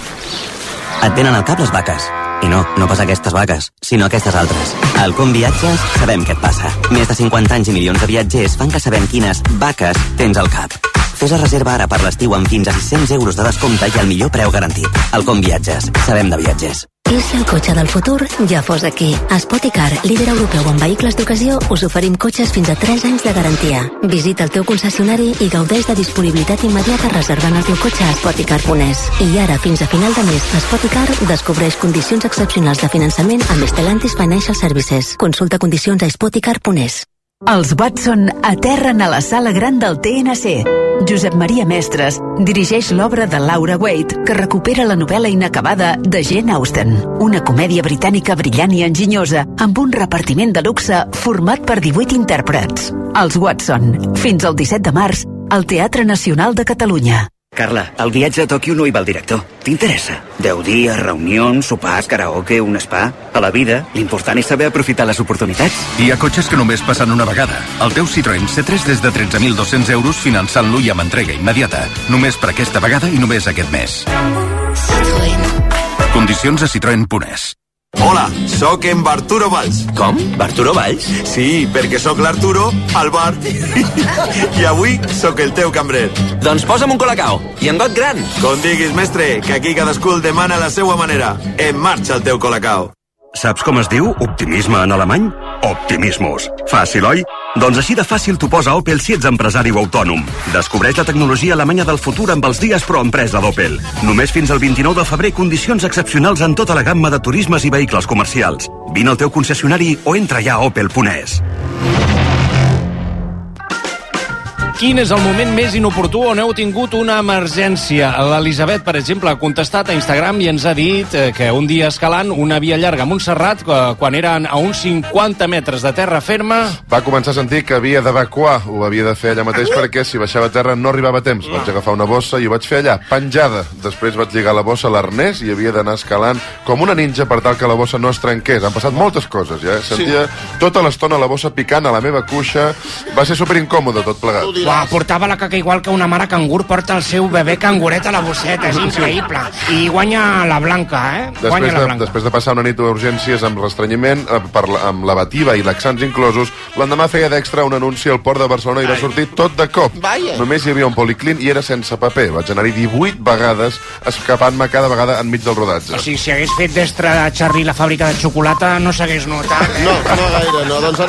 Speaker 18: et venen al cap les vaques. I no, no pas aquestes vaques, sinó aquestes altres. Al Com Viatges sabem què et passa. Més de 50 anys i milions de viatgers fan que sabem quines vaques tens al cap. Fes la reserva ara per l'estiu amb fins a 600 euros de descompte i el millor preu garantit. Al Com Viatges, sabem de viatgers.
Speaker 2: I si el cotxe del futur ja fos aquí? A Spoticar, líder europeu en vehicles d'ocasió, us oferim cotxes fins a 3 anys de garantia. Visita el teu concessionari i gaudeix de disponibilitat immediata reservant el teu cotxe a Spoticar.es. I ara, fins a final de mes, Spoticar descobreix condicions excepcionals de finançament amb Estelantis Financial Services. Consulta condicions a Spoticar.es.
Speaker 41: Els Watson aterren a la sala gran del TNC. Josep Maria Mestres dirigeix l'obra de Laura Waite, que recupera la novel·la inacabada de Jane Austen, una comèdia britànica brillant i enginyosa, amb un repartiment de luxe format per 18 intèrprets. Els Watson, fins al 17 de març, al Teatre Nacional de Catalunya.
Speaker 18: Carla, el viatge a Tòquio no hi va el director. T'interessa? Deu dies, reunions, sopars, karaoke, un spa... A la vida, l'important és saber aprofitar les oportunitats.
Speaker 6: Hi ha cotxes que només passen una vegada. El teu Citroën C3 des de 13.200 euros finançant-lo i amb entrega immediata. Només per aquesta vegada i només aquest mes. Condicions a Citroën.es.
Speaker 4: Hola, sóc en Barturo Valls. Com? Barturo Valls? Sí, perquè sóc l'Arturo al bar. (laughs) I avui sóc el teu cambrer. Doncs posa'm un colacao i en got gran. Com diguis, mestre, que aquí cadascú el demana a la seva manera. En marxa el teu colacao.
Speaker 42: Saps com es diu optimisme en alemany?
Speaker 4: Optimismus. Fàcil, oi? Doncs així de fàcil t'ho posa Opel si ets empresari o autònom. Descobreix la tecnologia alemanya del futur amb els dies pro empresa d'Opel. Només fins al 29 de febrer condicions excepcionals en tota la gamma de turismes i vehicles comercials. Vine al teu concessionari o entra ja a Opel Ponés.
Speaker 7: Quin és el moment més inoportú on heu tingut una emergència? L'Elisabet, per exemple, ha contestat a Instagram i ens ha dit eh, que un dia escalant una via llarga a Montserrat, eh, quan eren a uns 50 metres de terra ferma...
Speaker 3: Va començar a sentir que havia d'evacuar, ho havia de fer allà mateix perquè si baixava a terra no arribava a temps. Vaig agafar una bossa i ho vaig fer allà, penjada. Després vaig lligar la bossa a l'arnès i havia d'anar escalant com una ninja per tal que la bossa no es trenqués. Han passat moltes coses, ja. eh? Sentia tota l'estona la bossa picant a la meva cuixa. Va ser superincòmode tot plegat.
Speaker 10: Uah, portava la caca igual que una mare cangur porta el seu bebè canguret a la bosseta, és
Speaker 3: Sí.
Speaker 10: increïble. I guanya la blanca, eh?
Speaker 3: Després
Speaker 10: guanya la
Speaker 3: de,
Speaker 10: blanca.
Speaker 3: després de passar una nit a urgències amb restrenyiment, eh, per, la- amb la bativa i laxants inclosos, l'endemà feia d'extra un anunci al port de Barcelona i va sortir tot de cop.
Speaker 43: Vaya.
Speaker 3: Només hi havia un policlin i era sense paper. Vaig anar-hi 18 vegades, escapant-me cada vegada enmig del rodatge.
Speaker 10: O sigui, si hagués fet d'estra de Charlie la fàbrica de xocolata, no s'hagués notat. Eh? No, no gaire, no. Doncs